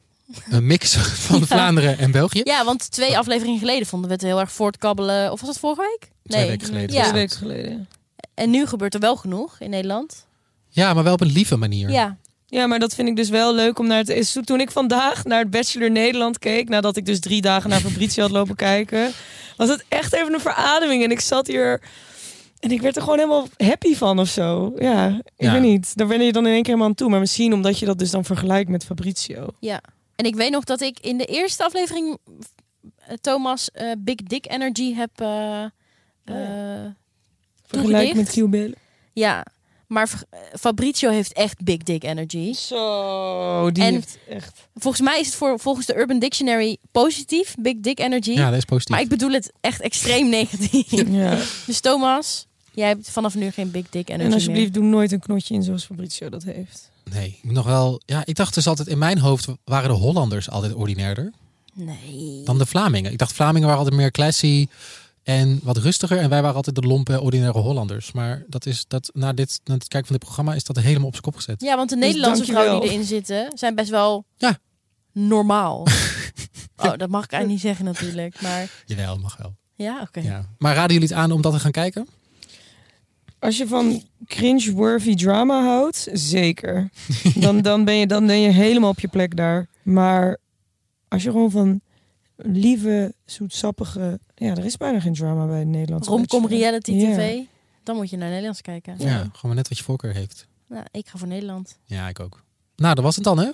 een mix van Vlaanderen en België.
Ja, want
Oh.
twee afleveringen geleden vonden we het heel erg voortkabbelen. Of was dat vorige week?
Twee weken geleden.
Ja.
Twee weken geleden.
En nu gebeurt er wel genoeg in Nederland.
Ja, maar wel op een lieve manier.
Ja.
Ja, maar dat vind ik dus wel leuk om naar te... is- Toen ik vandaag naar het Bachelor Nederland keek... nadat ik dus drie dagen naar Fabrizio had lopen kijken... was het echt even een verademing. En ik zat hier... En ik werd er gewoon helemaal happy van of zo. Ja, ik
Ja.
weet niet. Daar ben je dan in één keer helemaal aan toe. Maar misschien omdat je dat dus dan vergelijkt met Fabrizio.
En ik weet nog dat ik in de eerste aflevering eh, Thomas eh, Big Dick Energy heb. eh eh,
Vergelijk met
toegedicht.
Q-Bill.
Ja, maar F- eh, Fabrizio heeft echt big dick energy.
Zo, die
En-
heeft echt...
Volgens mij is het voor, volgens de Urban Dictionary positief, big dick energy.
Ja, dat is positief.
maar ik bedoel het echt extreem negatief.
Ja.
dus Thomas, jij hebt vanaf nu geen big dick energy
En alsjeblieft, doe nooit een knotje in zoals Fabrizio dat heeft.
Nee, ik moet nog wel. Ja, ik dacht dus altijd in mijn hoofd waren de Hollanders altijd ordinairder
meer. Nee.
dan de Vlamingen. Ik dacht Vlamingen waren altijd meer classy en wat rustiger en wij waren altijd de lompe ordinaire Hollanders. Maar dat is dat na dit na het kijken van dit programma is dat helemaal op zijn kop gezet.
Ja, want de Nederlandse
dankjewel.
vrouwen die erin zitten zijn best wel
Ja.
normaal. oh, dat mag ik eigenlijk niet zeggen natuurlijk. Maar
Jawel, mag wel.
ja, oké.
Ja. Maar raden jullie het aan om dat te gaan kijken?
Als je van cringe-worthy drama houdt, zeker. Dan, dan, ben je, dan ben je helemaal op je plek daar. Maar als je gewoon van lieve, zoetsappige... Ja, er is bijna geen drama bij het Nederlands.
Romcom
Bachelor.
reality
Ja.
tv. Dan moet je naar Nederlands kijken.
Ja. gewoon maar net wat je voorkeur heeft.
Nou, ik ga voor Nederland.
Ja, ik ook. Nou, dat was het dan hè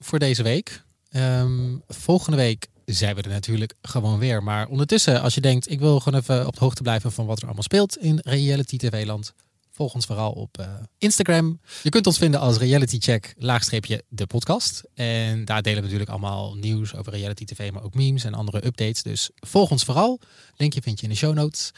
voor deze week. Ehm, volgende week zijn we er natuurlijk gewoon weer. Maar ondertussen, als je denkt, ik wil gewoon even op de hoogte blijven van wat er allemaal speelt in Reality TV-land. Volg ons vooral op eh, Instagram. Je kunt ons vinden als Reality Check laagstreepje de podcast. En daar delen we natuurlijk allemaal nieuws over Reality TV, maar ook memes en andere updates. Dus volg ons vooral. Linkje vind je in de show notes.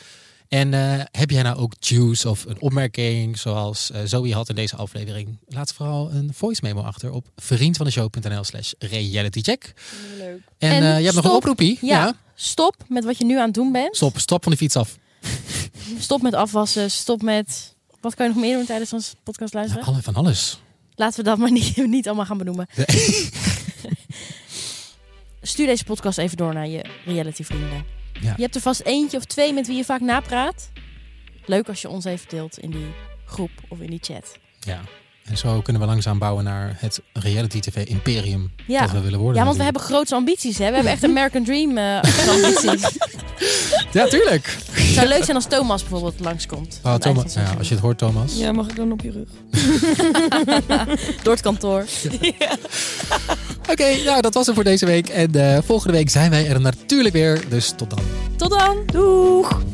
En eh, heb jij nou ook juice of een opmerking zoals eh, Zoe had in deze aflevering? Laat vooral een voice memo achter op vriendvandeshow.nl slash realitycheck.
Leuk.
En, eh,
En
je hebt nog een
stop.
oproepie.
Ja. Stop met wat je nu aan het doen bent.
Stop, stop van die fiets af.
Stop met afwassen. Stop met... Wat kan je nog meer doen tijdens ons podcast
Ja,
luisteren?
alle- van alles.
Laten we dat maar niet, niet allemaal gaan benoemen. Stuur deze podcast even door naar je realityvrienden.
Ja.
Je hebt er vast eentje of twee met wie je vaak napraat. Leuk als je ons even deelt in die groep of in die chat.
Ja. En zo kunnen we langzaam bouwen naar het reality tv imperium dat we
Ja,
willen worden.
ja want we
natuurlijk.
hebben grootse ambities. Hè? We hebben echt American Dream eh, ambities.
Ja, tuurlijk.
Het zou leuk zijn als Thomas bijvoorbeeld langskomt.
Oh, Thomas, ja, als je het hoort, Thomas.
Ja, mag ik dan op je rug?
Door het kantoor.
Oké, nou dat was het voor deze week. En eh, volgende week zijn wij er natuurlijk weer. Dus tot dan.
Tot dan!
Doeg!